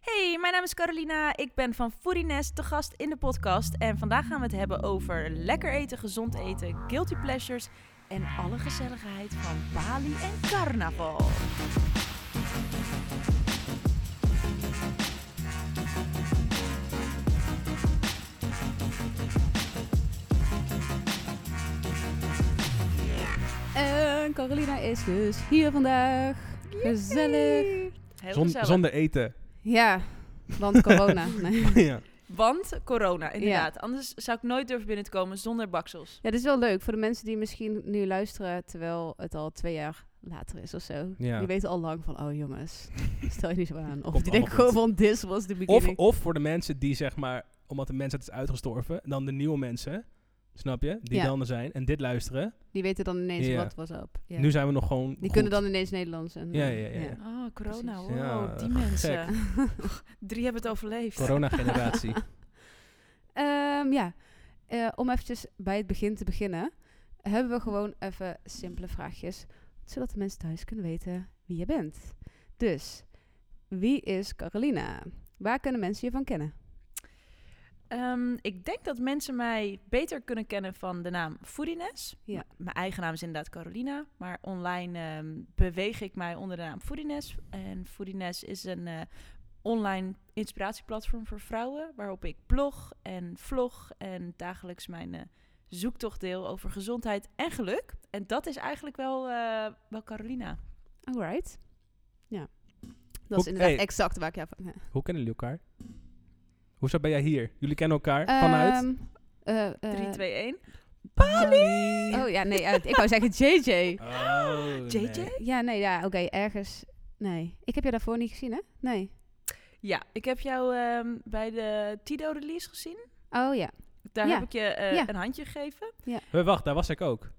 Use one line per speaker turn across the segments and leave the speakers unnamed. Hey, mijn naam is Carolina. Ik ben van Foodiness te gast in de podcast. En vandaag gaan we het hebben over lekker eten, gezond eten, guilty pleasures en alle gezelligheid van Bali en carnaval.
En Carolina is dus hier vandaag. Gezellig.
Heel
Zon-
gezellig.
zonder eten.
Ja, want corona. Nee.
ja.
Want corona, inderdaad. Anders zou ik nooit durven binnen te komen zonder baksels.
Ja, dit is wel leuk voor de mensen die misschien nu luisteren terwijl het al twee jaar later is of zo.
Ja.
Die weten al lang van, oh jongens, stel je niet zo aan. Of
Komt
die denken gewoon
allemaal
van, this was the
of,
beginning.
of voor de mensen die zeg maar, omdat de mensheid is uitgestorven, dan de nieuwe mensen, snap je, die
Ja.
dan er zijn en dit luisteren.
Die weten dan ineens
Ja.
wat was up. Ja.
Nu zijn we nog gewoon
die kunnen dan ineens Nederlands. En,
Ja,
eh,
ja, ja, ja.
Oh, corona.
Precies.
Wow,
Ja,
die mensen. Drie hebben het overleefd.
Corona-generatie.
Ehm, ja. Eh, om eventjes bij het begin te beginnen, hebben we gewoon even simpele vraagjes, zodat de mensen thuis kunnen weten wie je bent. Dus, wie is Carolina? Waar kunnen mensen je van kennen?
Ehm, ik denk dat mensen mij beter kunnen kennen van de naam Foodiness.
Ja.
M- Mijn eigen naam is inderdaad Carolina, maar online ehm, beweeg ik mij onder de naam Foodiness. En Foodiness is een eh, online inspiratieplatform voor vrouwen, waarop ik blog en vlog en dagelijks mijn eh, zoektocht deel over gezondheid en geluk. En dat is eigenlijk wel, eh, wel Carolina.
Alright. Ja. Dat is
Hoe-
inderdaad
hey.
exact waar ik jou van... Ja.
Hoe kennen jullie elkaar? Hoezo ben jij hier? Jullie kennen elkaar vanuit?
Ehm, eh, eh,
3, 2, 1.
Bali!
Oh ja, nee, uit. ik wou zeggen JJ.
Oh,
JJ?
nee.
Ja, nee, ja, oké, ergens... Nee, ik heb je daarvoor niet gezien, hè? Nee.
Ja, ik heb jou ehm, bij de Tido-release gezien.
Oh ja.
Daar
Ja.
heb ik je eh,
Ja.
een handje gegeven.
Hey, wacht, daar was ik ook.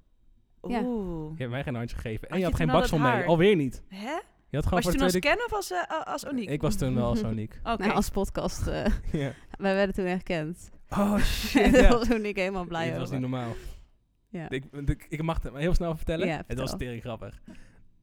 Ja.
Oeh.
Je hebt mij geen handje gegeven.
Had
En je
je
had
toen
geen
al dat
baksel
haar?
mee. Alweer niet.
Hè?
Je had gewoon
Was je toen
voor
als
de tweede
Ken of als, eh, als Oniek?
Ik was toen wel als Oniek.
Oké.
Nou, als podcastster.
Oh.
Ja.
Wij werden toen herkend.
Oh
En
shit,
daar
ja.
was toen ik helemaal blij
Het was
over.
niet normaal.
Ja.
Ik, ik, ik mag het maar heel snel vertellen.
Ja,
Het was
vertel.
tering grappig.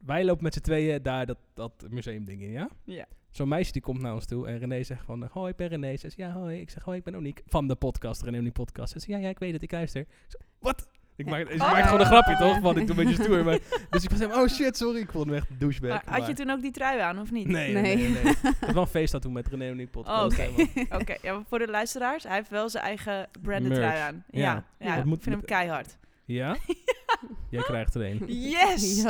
Wij lopen met z'n tweeën daar dat, dat museumding in, ja?
Ja.
Zo'n meisje die komt naar ons toe en René zegt van... eh, Hoi, ik ben René. Ze zegt, ja, hoi. Ik zeg, hoi, ik ben Oniek. Van de podcast, René Oniek podcast. Ze zegt, ja, ja, ik weet het, ik luister. Ik zeg, Wat? Ik
Ja.
maak, ze
Oh.
maakt gewoon een grapje, toch? Want ik doe een beetje stoer. Maar, dus ik was helemaal, oh shit, sorry. Ik vond hem echt een douchebag.
Maar Ah, had je
maar-
toen ook die trui aan, of niet?
Nee, nee, nee. nee. Ik had wel een feest dat toen met René Oniek podcast.
Oh, oké.
helemaal.
Oké, ja, maar voor de luisteraars, hij heeft wel zijn eigen branded
Merch.
trui aan. Ja,
Ja.
ja.
Ja.
ik
Dat moet-
vind hem keihard.
Ja? Jij krijgt er een.
Yes!
Yes.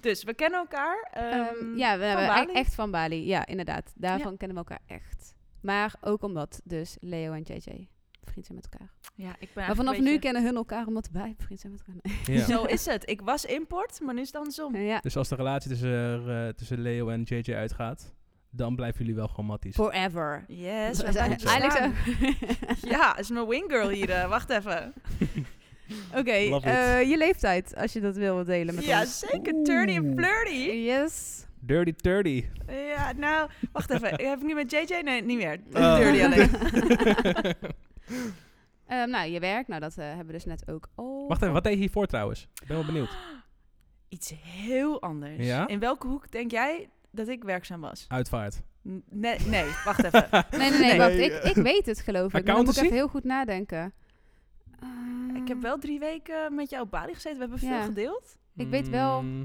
Dus we kennen elkaar. ehm,
Ehm, ja, we hebben e-
Bali?
echt van Bali. Ja, inderdaad. Daarvan kennen we elkaar echt. Maar ook omdat dus Leo en JJ vriend zijn met elkaar.
ja, ik ben
maar
eigenlijk
vanaf
een
nu
beetje-
kennen hun elkaar omdat wij vriend zijn met elkaar. Nee.
Ja.
Zo is het. Ik was import, maar nu is het andersom.
Ja,
Dus als de relatie tussen, eh, tussen Leo en JJ uitgaat, dan blijven jullie wel gewoon matties.
forever.
Yes, we
Dat is
zijn
eigenlijk
samen.
zo.
Ja, is mijn wingirl hier. eh, wacht even.
Oké,
Love it.
eh, je leeftijd als je dat wil wat delen met
Ja,
ons.
zeker. Turny en flirty.
Yes.
Dirty Dirty.
Ja, nou, wacht even. Heb ik nu met JJ? Nee, niet meer.
Oh.
Dirty alleen.
Ehm, nou, je werk, nou dat eh, hebben we dus net ook al.
Wacht even, wat deed je hiervoor trouwens? Ik ben wel benieuwd.
Iets heel anders.
Ja?
In welke hoek denk jij dat ik werkzaam was?
Uitvaart.
N- Nee, nee wacht even.
Nee, nee, nee, wacht.
Nee,
Ik, ik weet het geloof ik. Maar dan moet ik
Accountancy?
even heel goed nadenken. Eh,
Ik heb wel drie weken met jou op Bali gezeten. We hebben veel
Ja.
gedeeld.
Ik weet wel
Mm,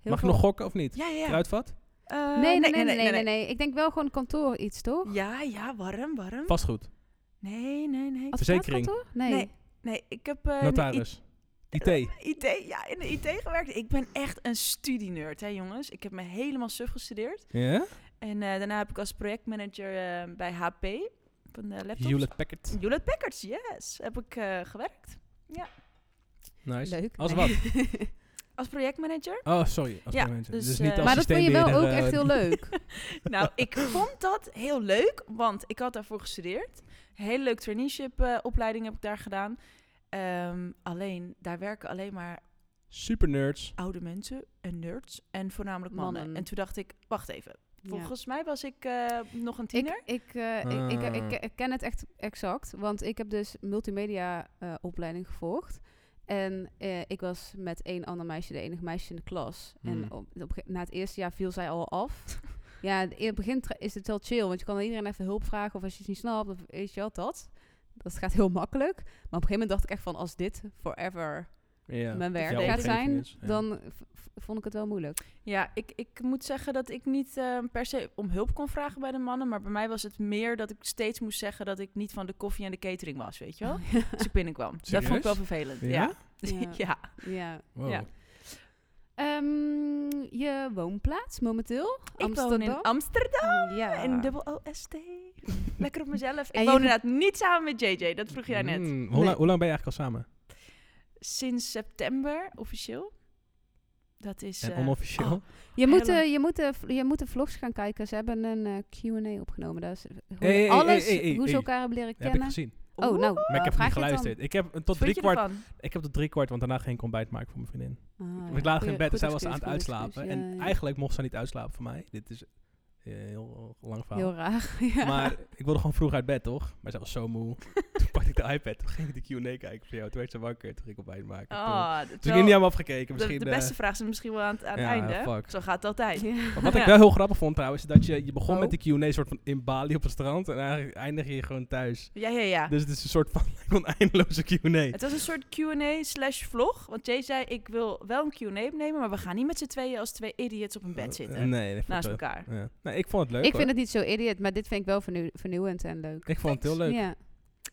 Heel
Mag ik
veel- Hm?
nog gokken of niet?
Ja, ja, ja.
Kruidvat?
Eh,
Nee nee nee, nee, nee, nee. Ik denk wel gewoon kantoor iets, toch?
Ja, ja, warm, warm.
Vastgoed.
Nee, nee, nee.
Verzekering.
Advocaatkantoor? Nee.
Nee. Nee, ik heb... eh, in de
Notaris. IT.
I- IT, ja, in de IT gewerkt. Ik ben echt een studieneurt, hè jongens. Ik heb me helemaal suf gestudeerd.
Ja?
En eh, daarna heb ik als projectmanager eh, bij HP, van de laptops.
Hewlett Packard.
Hewlett Packard, yes. Heb ik eh, gewerkt.
Nice.
Leuk.
Als
Nee.
wat?
Als projectmanager.
Oh, sorry. Als
Ja,
manager.
dus,
Dus,
eh,
niet als
maar dat vond je wel ook
systeembeheerder,
echt
eh,
heel leuk.
Nou, ik vond dat heel leuk, want ik had daarvoor gestudeerd. Heel leuk traineeship eh, opleiding heb ik daar gedaan. Ehm, alleen, daar werken alleen maar
Super nerds.
oude mensen en nerds en voornamelijk mannen.
Mannen.
En toen dacht ik, wacht even.
Ja.
Volgens mij was ik eh, nog een tiener.
Ik, ik, eh, ik, ik, ik,
Ah.
ik ken het echt exact, want ik heb dus multimedia eh, opleiding gevolgd. En eh, ik was met één ander meisje de enige meisje in de klas. En
Hmm.
op, op, een gege- na het eerste jaar viel zij al af. Ja, in het begin tra- is het wel chill, want je kan aan iedereen even hulp vragen of als je iets niet snapt, of weet je wat, dat. Dat gaat heel makkelijk. Maar op een gegeven moment dacht ik echt van, als dit forever
Ja.
mijn werk
jouw
gaat zijn,
omgeving is, ja.
dan v- v- vond ik het wel moeilijk.
Ja, ik, ik moet zeggen dat ik niet eh, per se om hulp kon vragen bij de mannen. Maar bij mij was het meer dat ik steeds moest zeggen dat ik niet van de koffie en de catering was, weet je wel? Als ik binnenkwam. Dat vond ik
Serieus?
wel vervelend.
Ja?
Ja.
Ja.
Ja.
ja.
Wow.
Ja.
Ehm, je woonplaats momenteel?
Ik woon in
Amsterdam?
Amsterdam.
Ja.
In dubbel OST. Lekker op mezelf. Ik
En je-
woon inderdaad niet samen met JJ. Dat vroeg jij net.
Mm, hoe,
Nee.
lang, hoe lang ben je eigenlijk al samen?
Sinds september officieel. Dat is.
En
eh,
onofficieel?
oh,
Je moet,
Helen.
eh, je, moet de, je moet de vlogs gaan kijken. Ze hebben een eh, Q&A opgenomen. Daar is eh, hoe-
hey, hey,
alles,
hey, hey,
hoe ze
hey.
elkaar hebben leren
Heb ik
kennen.
gezien.
oh, nou.
Maar ik heb
vraag
niet
je het
geluisterd. Ik heb eh,
Wat
tot
vond
drie
je
kwart,
ervan?
ik heb tot drie kwart, want daarna geen ontbijt maken voor mijn vriendin.
Oh
dan. Ah,
Ik lag in
Goeie-
bed en
goed
zij was aan het
excuus, goed
uitslapen.
excuus. Ja,
en
ja.
eigenlijk mocht ze niet uitslapen voor mij. Dit is eh, heel lang verhaal.
Heel raar. ja.
Maar ik wilde gewoon vroeg uit bed, toch? Maar ze was zo moe. toen pakte ik de iPad, toen ging ik de Q&A kijken voor jou. Toen werd ze wakker, toen ging ik ontbijt maken. toen,
Oh, dat
dus ik
wel-
heb niet helemaal afgekeken.
de,
Misschien,
de
eh,
beste vraag is misschien wel aan het, aan het
ja,
einde. hè?
fuck.
Zo gaat het altijd.
Ja.
Maar wat ik
Ja.
wel heel grappig vond trouwens, is dat je, je begon
Oh.
met de Q&A soort van in Bali op het strand. En eigenlijk eindig je gewoon thuis.
Ja, ja, ja.
Dus het is een soort van oneindeloze Q&A.
Het was een soort Q&A slash vlog. Want Jay zei, ik wil wel een Q&A nemen, maar we gaan niet met z'n tweeën als twee idiots op een bed zitten.
Eh, Nee, dat vond
naast
ik wel-
elkaar.
ja. Nee, ik vond het leuk
Ik vind
hoor.
het niet zo idiot, maar dit vind ik wel vernieu- vernieuwend en leuk.
Ik vond het heel leuk.
Ja.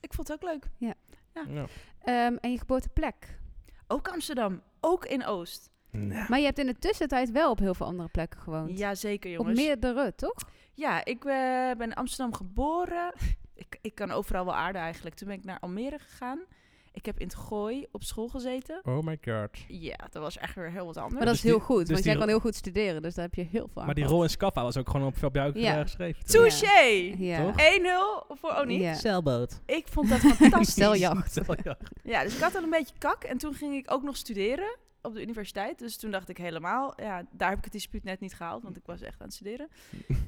Ik vond het ook leuk.
Ja.
Ehm, en je geboorteplek.
Ook Amsterdam. Ook in Oost.
Nou,
Maar je hebt in de tussentijd wel op heel veel andere plekken gewoond.
Jazeker,
op
jongens.
meerdere, toch?
Ja, ik eh, ben in Amsterdam geboren. ik, ik kan overal wel aarden eigenlijk. Toen ben ik naar Almere gegaan. Ik heb in het Gooi op school gezeten.
Oh my god.
Ja, dat was echt weer heel wat anders.
Maar
dus
dat is heel
die-
goed,
dus
want
die
jij kan
ro-
heel goed studeren, dus daar heb je heel veel aan.
Maar die
gehad.
rol in Scaffa was ook gewoon op, op jou
Ja.
eh, geschreven. toch?
Touché!
Ja.
Toch?
1-0 voor Oni.
Ja.
Zeilboot.
Ik vond dat fantastisch.
Zeiljacht.
Zeiljacht.
Ja, dus ik had al een beetje kak. En toen ging ik ook nog studeren op de universiteit. Dus toen dacht ik helemaal, ja, daar heb ik het dispuut net niet gehaald, want ik was echt aan het studeren.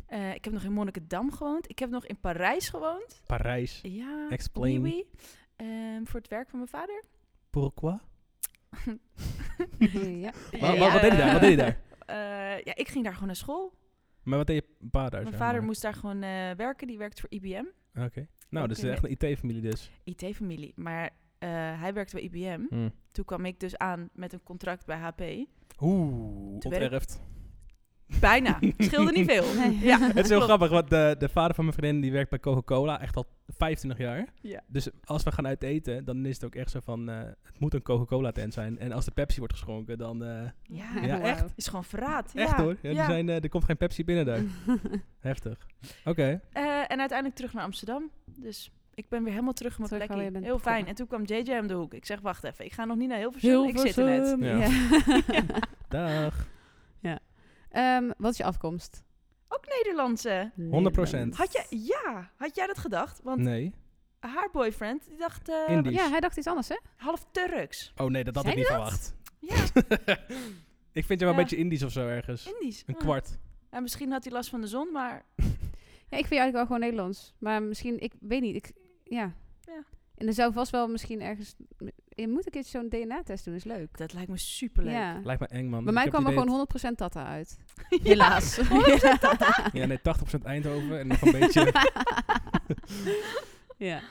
Eh, ik heb nog in Monnikendam gewoond. Ik heb nog in Parijs gewoond.
Parijs.
Ja, op
Explain.
Wiwi. Ehm, voor het werk van mijn vader.
Pourquoi?
ja.
Wa- wa- wat deed je daar? Wat deed je daar?
Eh, ja, ik ging daar gewoon naar school.
Maar wat deed je pa daar?
Mijn
zeg
vader
maar?
moest daar gewoon eh, werken. Die werkt voor IBM.
Nou, dat is
Oké.
echt een IT-familie dus.
IT-familie. Maar eh, hij werkte bij IBM.
Hm.
Toen kwam ik dus aan met een contract bij HP.
Oeh,
Toen werd ik-
onterfd.
Bijna. Scheelde niet veel. Ja,
Het is heel
klopt.
grappig, want de, de vader van mijn vriendin die werkt bij Coca-Cola echt al 25 jaar.
Ja.
Dus als we gaan uit eten, dan is het ook echt zo van, eh, het moet een Coca-Cola tent zijn. En als de Pepsi wordt geschonken, dan... eh,
Ja,
Ja,
Wauw.
echt.
is gewoon verraad.
echt
ja.
hoor, ja, die
ja.
zijn, eh, er komt geen Pepsi binnen
Mm.
daar. Heftig. Oké.
Eh, en uiteindelijk terug naar Amsterdam. Dus ik ben weer helemaal terug op mijn
Terug waar
plekje.
je bent
Heel fijn.
begonnen.
En toen kwam JJ om de hoek. Ik zeg, wacht even. Ik ga nog niet naar Hilversum.
Heel
ik zit er net.
Ja.
Ja.
Dag.
Ehm, wat is je afkomst?
Ook Nederlandse.
100%.
Had jij, ja, had jij dat gedacht? Want
Nee.
haar boyfriend, die dacht eh,
Indisch.
Ja, hij dacht iets anders, hè?
half Turks.
Oh nee, dat had
Zei
ik niet verwacht.
Ja,
ik vind je wel een
Ja.
beetje Indisch of zo ergens.
Indisch.
Een
Ah.
kwart.
En misschien had hij last van de zon, maar
Ja, ik vind je eigenlijk wel gewoon Nederlands. Maar misschien, ik weet niet, ik, ja.
Ja.
En er zou vast wel misschien ergens... Je moet een keer zo'n DNA-test doen, is leuk.
dat lijkt me superleuk.
Ja.
Lijkt me eng man.
Bij
Ik
mij
heb
kwam er
het idee
gewoon 100% Tata uit.
Ja.
Helaas.
dat- Ja, nee, 80% Eindhoven en nog een beetje...
ja.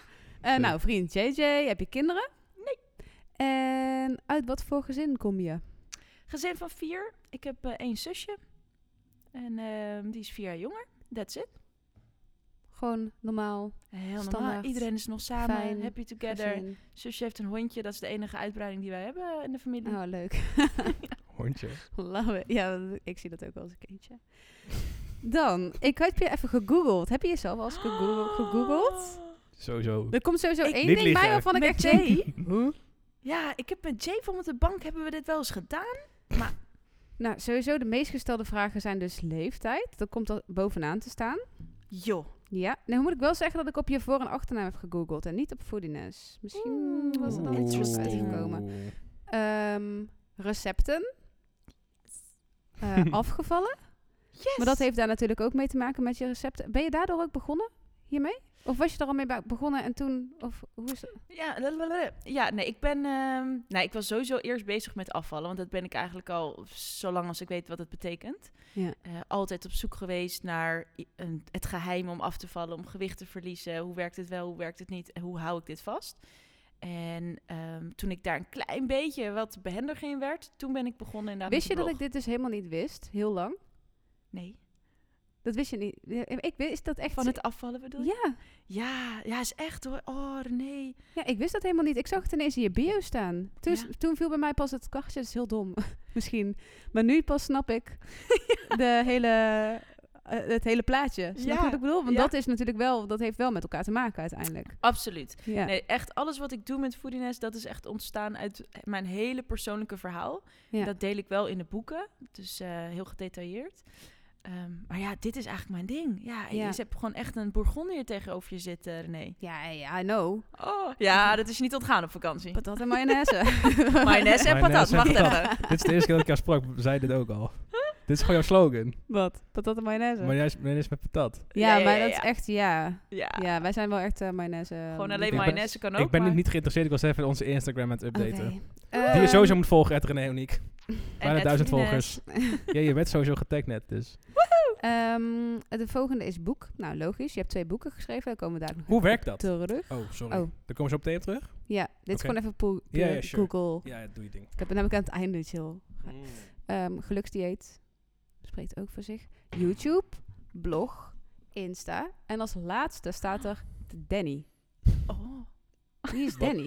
Eh,
Zo.
nou, vriend JJ, heb je kinderen? Nee. En uit wat voor gezin kom je?
Gezin van vier. Ik heb eh, één zusje. En ehm, die is vier jaar jonger. That's it.
Gewoon normaal.
Heel normaal.
Standaard.
Iedereen is nog samen.
Fijn.
Happy together.
gezin.
Zusje heeft een hondje. Dat is de enige uitbreiding die wij hebben eh, in de familie.
Oh, leuk.
Hondje.
Love it. Ja, want ik zie dat ook wel als een kindje. Dan, ik heb je even gegoogeld. Heb je jezelf al eens gegoo- gegoogeld?
Sowieso.
Er komt sowieso
Oh. Ik-
één
Niet
ding
liegen.
bij waarvan ik echt
Met
denk...
Jay?
Huh?
Ja, ik heb met Jay van op de bank hebben we dit wel eens gedaan.
Nou, sowieso de meest gestelde vragen zijn dus leeftijd. Dat komt er bovenaan te staan.
Joh.
Ja, nou moet ik wel zeggen dat ik op je voor- en achternaam heb gegoogeld en niet op foodiness. Misschien
Oeh,
was het dan
Oeh.
iets anders
Interesting.
uitgekomen. Ehm, recepten. Eh, afgevallen.
Yes.
Maar dat heeft daar natuurlijk ook mee te maken met je recepten. Ben je daardoor ook begonnen? hiermee? Of was je er al mee be- begonnen en toen? Of hoe is het?
Ja, lalalala. ja, nee, ik ben. ehm, nou, ik was sowieso eerst bezig met afvallen, want dat ben ik eigenlijk al zo lang als ik weet wat het betekent.
Ja.
Eh, altijd op zoek geweest naar i- een, het geheim om af te vallen, om gewicht te verliezen. Hoe werkt het wel, hoe werkt het niet, en hoe hou ik dit vast? En ehm, toen ik daar een klein beetje wat behendiger in werd, toen ben ik begonnen inderdaad.
Wist je
met de
dat ik dit dus helemaal niet wist? Heel lang.
blog. Nee,
Dat wist je niet. Ja, Ik wist dat echt.
van het afvallen bedoel je?
ja.
Ja, ja, is echt hoor. Oh, nee.
ja, ik wist dat helemaal niet. Ik zag het ineens in je bio staan. Toen,
Ja.
toen viel bij mij pas het kastje. Dat is heel dom, misschien. Maar nu pas snap ik de hele, eh, het hele plaatje. Snap je
Ja,
wat ik bedoel? Want
ja.
dat is natuurlijk wel, dat heeft wel met elkaar te maken uiteindelijk.
Absoluut.
Ja.
Nee, echt alles wat ik doe met foodiness, dat is echt ontstaan uit mijn hele persoonlijke verhaal.
Ja.
Dat deel ik wel in de boeken, dus eh, heel gedetailleerd. Ehm, maar ja, dit is eigenlijk mijn ding. Ja,
Ja.
je hebt gewoon echt een Bourgondier tegenover je zitten, René.
Ja, ja, I know.
Oh, ja, dat is je niet ontgaan op vakantie.
Patat en mayonaise.
Mayonaise en patat,
Mayonaise en
wacht
patat.
even.
dit is de eerste keer dat ik jou sprak, zei dit ook al. Dit is gewoon jouw slogan.
Wat? Patat en mayonaise.
Maar juist maar juist met patat.
ja,
Ja,
maar
ja,
dat
ja.
is echt, ja.
Ja,
Ja, wij zijn wel echt eh, mayonaise. eh,
gewoon
Ik
alleen
ben-
mayonaise kan ook,
ik ben
maar-
niet geïnteresseerd. Ik was even onze Instagram aan het
Oké.
updaten. Die je
Ehm,
sowieso moet volgen, Ed René Uniek.
en
Bijna
net
duizend
foodiness.
volgers. Ja, je bent sowieso getagd net, dus.
ehm, de volgende is boek. Nou, logisch. Je hebt twee boeken geschreven. Daar komen we daar nog
Hoe
even
werkt dat?
terug.
Oh, sorry.
Oh.
Daar komen we zo op tegen terug?
Ja, dit is
Oké.
gewoon even poe-
Ja, ja,
pure
sure.
Google.
Ja, ja, doe je ding. Mm.
Ik heb het namelijk aan het einde, chill. Ehm, geluksdieet. Spreekt ook voor zich. YouTube, blog, Insta. En als laatste staat er Danny.
Oh.
Wie is
Wat?
Danny?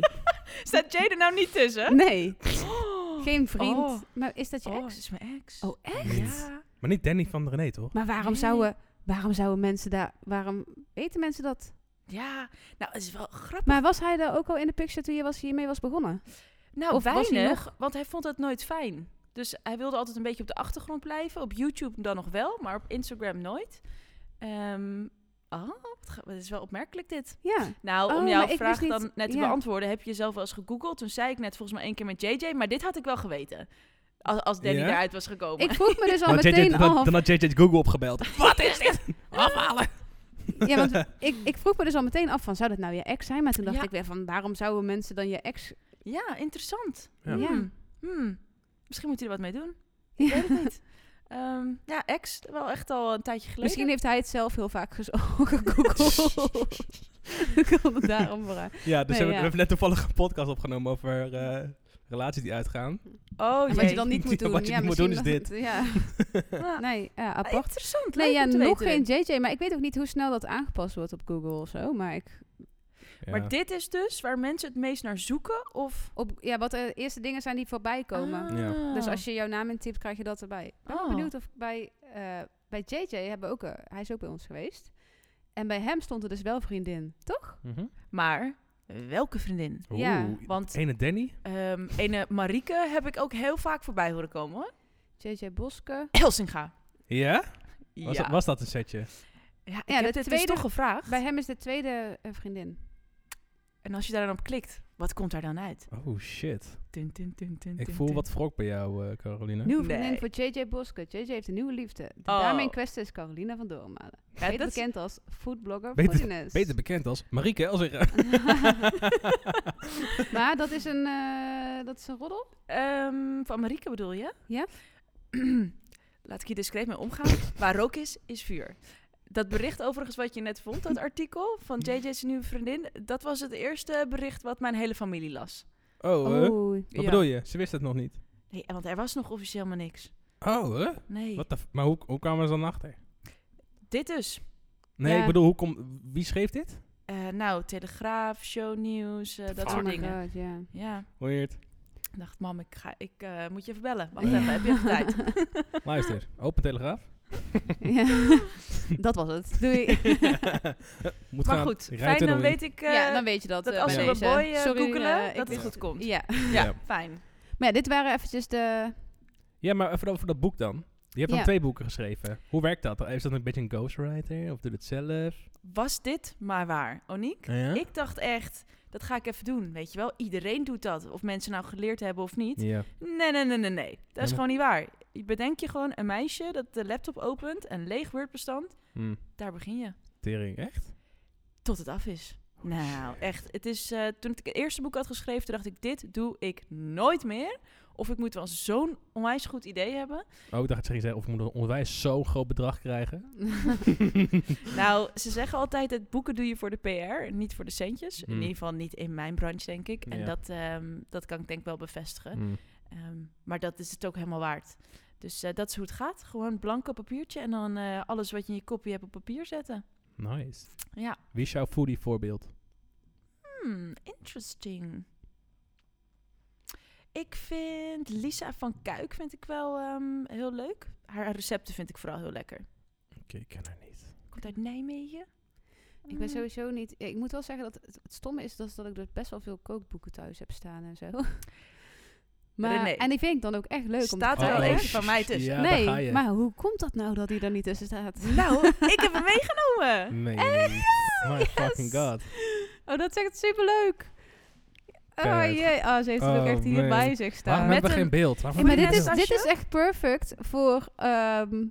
Staat Jay er nou niet tussen?
Nee,
Oh.
geen vriend.
Oh.
Maar is dat je
Oh,
ex?
het is mijn ex.
Oh, echt?
Ja.
Maar niet Danny van René, toch?
Maar waarom,
Nee.
zouden, waarom zouden mensen daar... Waarom weten mensen dat?
Ja, nou, het is wel grappig.
Maar was hij daar ook al in de picture toen je was, hiermee was begonnen?
Nou,
Of was
weinig,
hij nog-
want hij vond het nooit fijn. Dus hij wilde altijd een beetje op de achtergrond blijven. Op YouTube dan nog wel, maar op Instagram nooit. Ehm oh, wat ga- wat is wel opmerkelijk dit.
Ja.
Nou, om
Oh, maar ik
jouw
wist
vraag
niet-
dan net te
ja.
beantwoorden, heb je zelf wel eens gegoogeld. Toen zei ik net volgens mij één keer met JJ, maar dit had ik wel geweten. Als, als Danny
Ja?
eruit was
Oh
gekomen.
Ik vroeg me dus al
Dan had JJ
meteen
dan-
af...
dan had JJ Google opgebeld. Wat is dit? Afhalen!
Ja, want ik, ik vroeg me dus al meteen af van, zou dat nou je ex zijn? Maar toen dacht
Ja.
ik weer van, waarom zouden mensen dan je ex...
Ja, interessant.
Ja.
Ja.
Hmm, hmm. Misschien moet hij er wat mee doen. Ik
Ja.
weet het niet. Ehm, ja, ex, wel echt al een tijdje geleden.
Misschien heeft hij het zelf heel vaak gezo- gegoogeld. Ik kon het daarom vooruit.
Oh
Ja,
Nee,
dus hebben
ja.
we hebben net toevallig een podcast opgenomen over eh, relaties die uitgaan.
Oh,
En wat
jee.
je dan niet moet
Ja,
doen.
wat je
ja,
niet moet doen is
misschien dat- Ja.
Ja.
Nee, ja,
Ah,
apart.
Interessant.
Nee,
leuk
ja,
om te
nog
weten
geen
dit.
JJ. Maar ik weet ook niet hoe snel dat aangepast wordt op Google of zo. Maar ik,
Ja.
Maar dit is dus waar mensen het meest naar zoeken of
op, ja, wat de eerste dingen zijn die
Ah,
voorbij komen.
Ja.
Dus als je jouw naam intypt, krijg je dat erbij. Ik ben wel
Oh.
benieuwd of bij, eh, bij JJ hebben we ook... eh, hij is ook bij ons geweest. En bij hem stond er dus wel vriendin, toch?
Mhm.
Maar welke vriendin?
Oeh,
Ja,
Want
Ene Danny?
ehm ene Marieke heb ik ook heel vaak voorbij horen komen hoor.
JJ Boske.
Helsinga.
Ja? Was,
ja.
Dat, was dat een setje?
ja, ik
Ja,
heb
de
dit dus
tweede-
toch gevraagd.
Bij hem is de tweede eh, vriendin.
En als je daar dan op klikt, wat komt daar dan uit?
Oh shit.
Tin, tin, tin, tin,
Ik
tin,
voel
tin.
wat wrok bij jou, eh, Caroline.
Nieuwe vriendin
Nee.
voor JJ Boske. JJ heeft een nieuwe liefde. De
Oh.
dame in kwestie is Carolina van Doormalen.
Ja,
beter
dat is-
bekend als foodblogger
Beter-
Foodiness.
Beter bekend als Marieke Elzera.
maar dat is een, eh, dat is een roddel?
Ehm, van Marieke bedoel je?
Ja.
Laat ik hier discreet mee omgaan. Waar rook is, is vuur. Dat bericht overigens wat je net vond, dat artikel van JJ's nieuwe vriendin, dat was het eerste bericht wat mijn hele familie las.
Oh, eh, wat
Oei.
Ja.
bedoel je? Ze wist het nog niet.
Nee, want er was nog officieel maar niks.
Oh, hè?
Nee.
Wat de f- maar hoe, hoe kwamen ze dan achter?
Dit dus.
Nee,
Ja.
ik bedoel, hoe kom, wie schreef dit?
Eh, nou, Telegraaf, shownieuws, eh, dat
Fuck.
soort
Oh my
dingen.
God, ja.
Ja,
Weird.
ik dacht, mam, ik, ga, ik eh, moet je even bellen. Wacht even, heb je even tijd?
Luister, open telegraaf.
Ja. dat was het. Doei.
Moet
Maar
gaan,
goed,
rijdt
fijn,
er
dan
nog in.
weet ik eh,
ja, dan weet je dat.
dat
eh,
als
bij
we
deze.
boy eh,
Sorry,
googelen,
eh,
dat
ik
het
wist-
goed komt.
Ja.
Ja,
Ja.
fijn.
Maar ja, dit waren eventjes de...
Ja, maar even over dat boek dan. Je hebt
Ja.
dan twee boeken geschreven. Hoe werkt dat? Is dat een beetje een ghostwriter? Of doe je het zelf?
Was dit maar waar, Oniek?
Ah, Ja?
Ik dacht echt, dat ga ik even doen, weet je wel. Iedereen doet dat, of mensen nou geleerd hebben of niet.
Ja.
Nee, nee, nee, nee, nee. Dat is
maar-
gewoon niet waar. Je Bedenk je gewoon een meisje dat de laptop opent, een leeg Word-bestand.
Hm,
Daar begin je.
tering, echt?
Tot het af is. Nou, echt. Het is, eh, toen ik het eerste boek had geschreven, toen dacht ik, dit doe ik nooit meer. Of ik moet wel zo'n onwijs goed idee hebben.
Oh, ik dacht, zeg je, of we moeten een onwijs zo'n groot bedrag krijgen.
Nou, ze zeggen altijd dat boeken doe je voor de PR, niet voor de centjes. In
Hmm.
ieder geval niet in mijn branche, denk ik. En
Ja.
dat, ehm, dat kan ik denk ik wel bevestigen.
Hmm.
Ehm, maar dat is het ook helemaal waard. Dus eh, dat is hoe het gaat. Gewoon blanco papiertje en dan eh, alles wat je in je kopie hebt op papier zetten.
Nice.
Ja.
Wie is jouw foodie voorbeeld?
Hmm, interesting. Ik vind Lisa van Kuik vind ik wel ehm, heel leuk. Haar recepten vind ik vooral heel lekker.
Oké, ik ken haar niet.
Komt uit Nijmegen.
Ik ben
Mm.
sowieso niet... Ik moet wel zeggen dat het, het stomme is dat, dat ik dus best wel veel kookboeken thuis heb staan en zo. Maar,
René.
En die vind ik dan ook echt leuk. om te
Staat er
kijken.
al
Oh,
één
sh-
van mij tussen.
Ja, daar ga
nee,
je.
maar hoe komt dat nou dat hij er niet tussen staat?
Nou, ik heb hem meegenomen.
Nee. My
Yes!
fucking god.
Oh, dat is echt superleuk. Oh
Keihard.
jee, oh, ze heeft het ook
Oh,
echt hier
man.
bij zich
Waarom
staan.
Met
hebben we
een-
geen beeld? Waarom
Hey, maar
hebben
dit
we
is,
geen
Tasje?
dit is echt perfect voor ehm,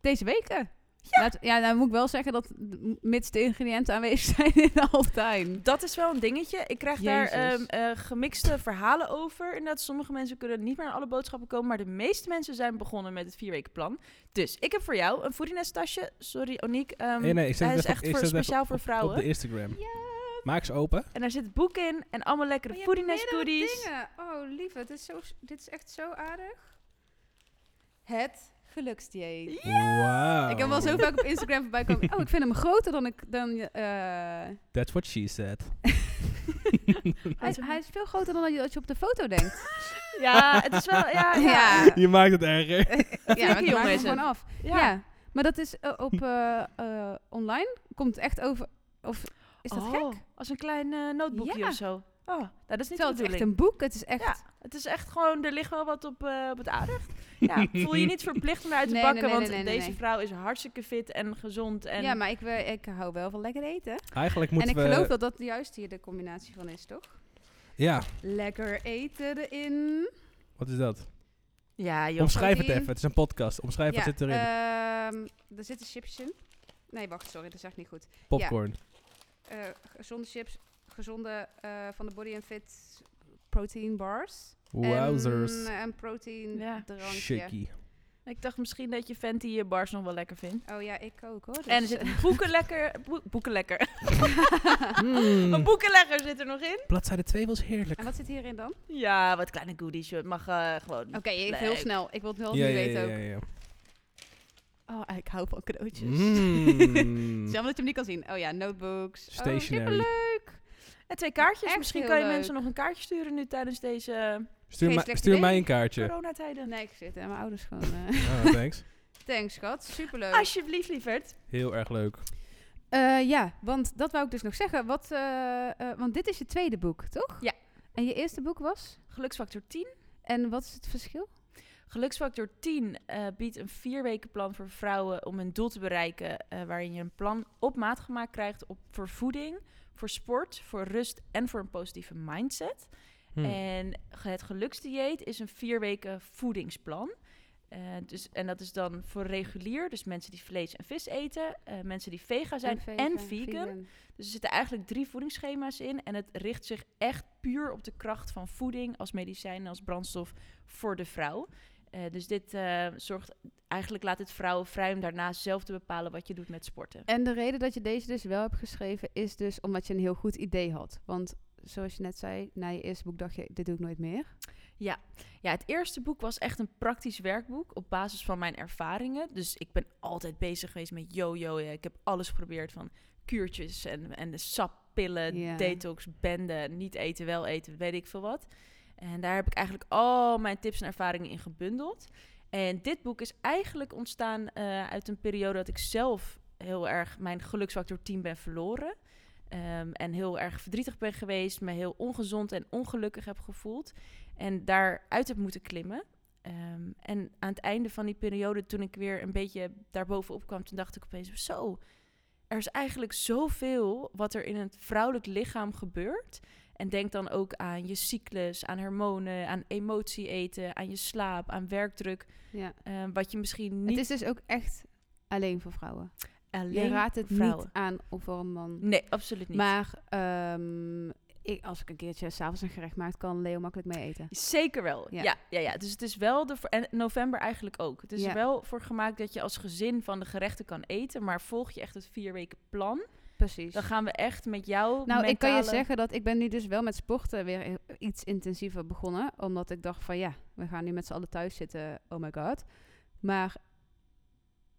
deze weken. Ja. ja, dan moet ik wel zeggen dat m- mits de ingrediënten aanwezig zijn in Alpijn.
Dat is wel een dingetje. Ik krijg daar
Jezus.
ehm, eh, gemixte verhalen over. Inderdaad, sommige mensen kunnen niet meer aan alle boodschappen komen. Maar de meeste mensen zijn begonnen met het vier weken plan. Dus ik heb voor jou een foodiness tasje. Sorry, Oniek. ehm,
beeld? Nee, nee, ik zet
hij
het
is
even-
echt
ik
voor,
zet het even
speciaal voor
op-
vrouwen.
Op de Instagram. Maak ze open.
En daar zit het boek in en allemaal lekkere foodiness goodies.
Oh, lieve, dit is, zo, dit is echt zo aardig. Het geluksdieet.
Wow.
Ik heb wel zo vaak op Instagram voorbij komen. Oh, ik vind hem groter dan ik... Dan, je- eh,
That's what she said.
hij, hij is veel groter dan dat je, dat je op de foto denkt.
Ja, het is wel... Ja, ja.
Ja.
Je maakt het erger.
ja,
jongen
maar ik maak hem
is
gewoon
het.
af. Ja. maar dat is eh, op eh, eh, online. Komt echt over. Of is dat
Oh,
gek?
Als een klein eh notebookje
Ja.
of zo. Oh, nou, dat is niet
Terwijl
de
het is echt
bedoeling.
een boek. Het is echt.
Ja, het is echt gewoon, er ligt wel wat op, eh, op het aardig. Ja, voel je niet verplicht om eruit te
Nee, nee,
pakken,
nee,
want
nee, nee, nee,
deze
nee.
vrouw is hartstikke fit en gezond. En
Ja, maar ik, wil- ik hou wel van lekker eten.
Eigenlijk moeten
en ik
we...
geloof dat dat juist hier de combinatie van is, toch?
Ja,
Lekker eten erin.
wat is dat?
ja joh.
Omschrijf het
proteïne.
even. Het is een podcast. Omschrijf wat zit erin.
ehm, er zitten chips in. Nee, wacht, sorry, dat is echt niet goed.
Popcorn.
Eh, gezonde chips, gezonde eh, van de Body and Fit protein bars.
Wowzers.
En, een protein
Ja.
eh, drankje.
Shaky.
Ik dacht misschien dat je Fenty je bars nog wel lekker vindt.
Oh ja, ik ook hoor.
En er
dus,
zitten boeken lekker, boe- boeken lekker. Een
Mm,
boekenlegger zit er nog in.
Bladzijde 2 was heerlijk.
en wat zit hierin dan?
Ja, wat kleine goodies. joh. Het mag eh, gewoon.
Oké, even heel
Leuk.
snel. Ik wil het wel
ja,
nu
ja,
weten
ja,
ook.
ja, ja.
Oh, ik hou van cadeautjes.
Mm.
Jammer dat je hem niet kan zien. Oh ja, notebooks. Oh,
Stationery.
superleuk.
En twee kaartjes.
Echt
misschien
heel
kan je
leuk.
mensen nog een kaartje sturen nu tijdens deze
Stuur, mij-
Geestelijk
stuur
idee.
mij een kaartje.
coronatijden.
Nee, ik zit en mijn ouders gewoon. eh.
Ah, thanks.
Thanks, schat. Superleuk.
Alsjeblieft, lieverd.
Heel erg leuk.
Eh, ja, want dat wou ik dus nog zeggen. Wat, eh, eh, want dit is je tweede boek, toch?
Ja.
En je eerste boek was?
Geluksfactor 10.
En wat is het verschil?
Geluksfactor 10 eh, biedt een vier weken plan voor vrouwen om hun doel te bereiken. eh, waarin je een plan op maat gemaakt krijgt op, voor voeding, voor sport, voor rust en voor een positieve mindset.
Hmm.
Eh,
En ge- het geluksdieet is een vier weken voedingsplan. Eh, dus, en dat is dan voor regulier, dus mensen die vlees en vis eten, eh, mensen die vega zijn en,
vegan,
vegan. Dus er zitten eigenlijk drie voedingsschema's in. En het richt zich echt puur op de kracht van voeding als medicijn en als brandstof voor de vrouw. Eh, dus dit eh, zorgt eigenlijk laat het vrouwen vrij om daarna zelf te bepalen wat je doet met sporten.
En de reden dat je deze dus wel hebt geschreven is dus omdat je een heel goed idee had. Want zoals je net zei, na je eerste boek dacht je, dit doe ik nooit meer.
Ja, het eerste boek was echt een praktisch werkboek op basis van mijn ervaringen. Dus ik ben altijd bezig geweest met yo-yo. ja, Ik heb alles geprobeerd van kuurtjes en, en de sappillen,
Ja.
detox, bende, niet eten, wel eten, weet ik veel wat. En daar heb ik eigenlijk al mijn tips en ervaringen in gebundeld. En dit boek is eigenlijk ontstaan eh, uit een periode dat ik zelf heel erg mijn geluksfactor 10 ben verloren. Ehm, en heel erg verdrietig ben geweest, me heel ongezond en ongelukkig heb gevoeld. En daaruit heb moeten klimmen. Ehm, en aan het einde van die periode, toen ik weer een beetje daarbovenop kwam, toen dacht ik opeens: zo, er is eigenlijk zoveel wat er in het vrouwelijk lichaam gebeurt. En denk dan ook aan je cyclus, aan hormonen, aan emotie eten, aan je slaap, aan werkdruk.
Ja.
ehm, wat je misschien niet
Het is dus ook echt alleen voor vrouwen.
alleen
Je raadt het
vrouwen.
niet aan of voor een man.
Nee, absoluut niet.
Maar ehm, ik, als ik een keertje s'avonds een gerecht maak, kan Leo makkelijk mee eten.
Zeker wel.
Ja.
Ja. Ja, ja, Dus het is wel de. En november eigenlijk ook. Het is
Ja.
er wel voor gemaakt dat je als gezin van de gerechten kan eten. Maar volg je echt het vier weken plan.
Precies.
Dan gaan we echt met jou.
Nou, ik kan je
mentale-
zeggen dat ik ben nu dus wel met sporten weer heel- iets intensiever begonnen. Omdat ik dacht van ja, we gaan nu met z'n allen thuis zitten. Oh my god. Maar